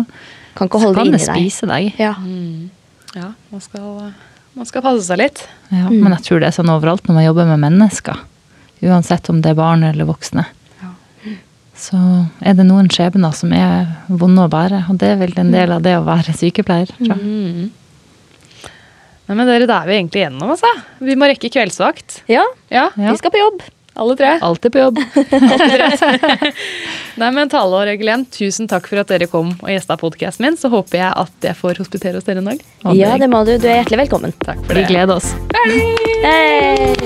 Kan ikke så holde det kan det inni deg. spise deg. Ja. Ja, man skal, eh, man skal passe seg litt. Ja, Mm. Men jeg tror det er sånn overalt når man jobber med mennesker. Uansett om det er barn eller voksne. Så er det noen skjebner som er vonde å bære, og det er vel Mm. en del av det å være sykepleier. Tror jeg. Nei, men dere, da er vi egentlig gjennom, altså. Vi må rekke kveldsvakt. Ja, Ja, Ja. vi skal på jobb. alle tre. Alltid på jobb. Nei, men Tale og Regelen, tusen takk for at dere kom og gjesta podkasten min. Så håper jeg at jeg får hospitere hos dere en dag. Og Ja, det må du. Du er hjertelig velkommen. Takk for Vi det. gleder oss. Hei!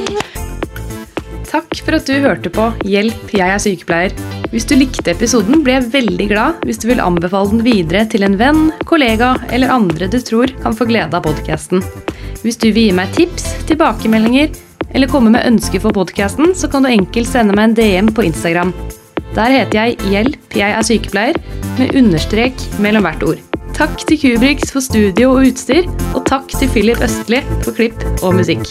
Takk for at du hørte på Hjelp, jeg er sykepleier. Hvis du likte episoden, blir jeg veldig glad hvis du vil anbefale den videre til en venn, kollega eller andre du tror kan få glede av podkasten. Hvis du vil gi meg tips, tilbakemeldinger eller komme med ønsker for podkasten, så kan du enkelt sende meg en DM på Instagram. Der heter jeg Hjelp, jeg er sykepleier, med understrek mellom hvert ord. Takk til Kubriks for studio og utstyr, og takk til Philip Østli for klipp og musikk.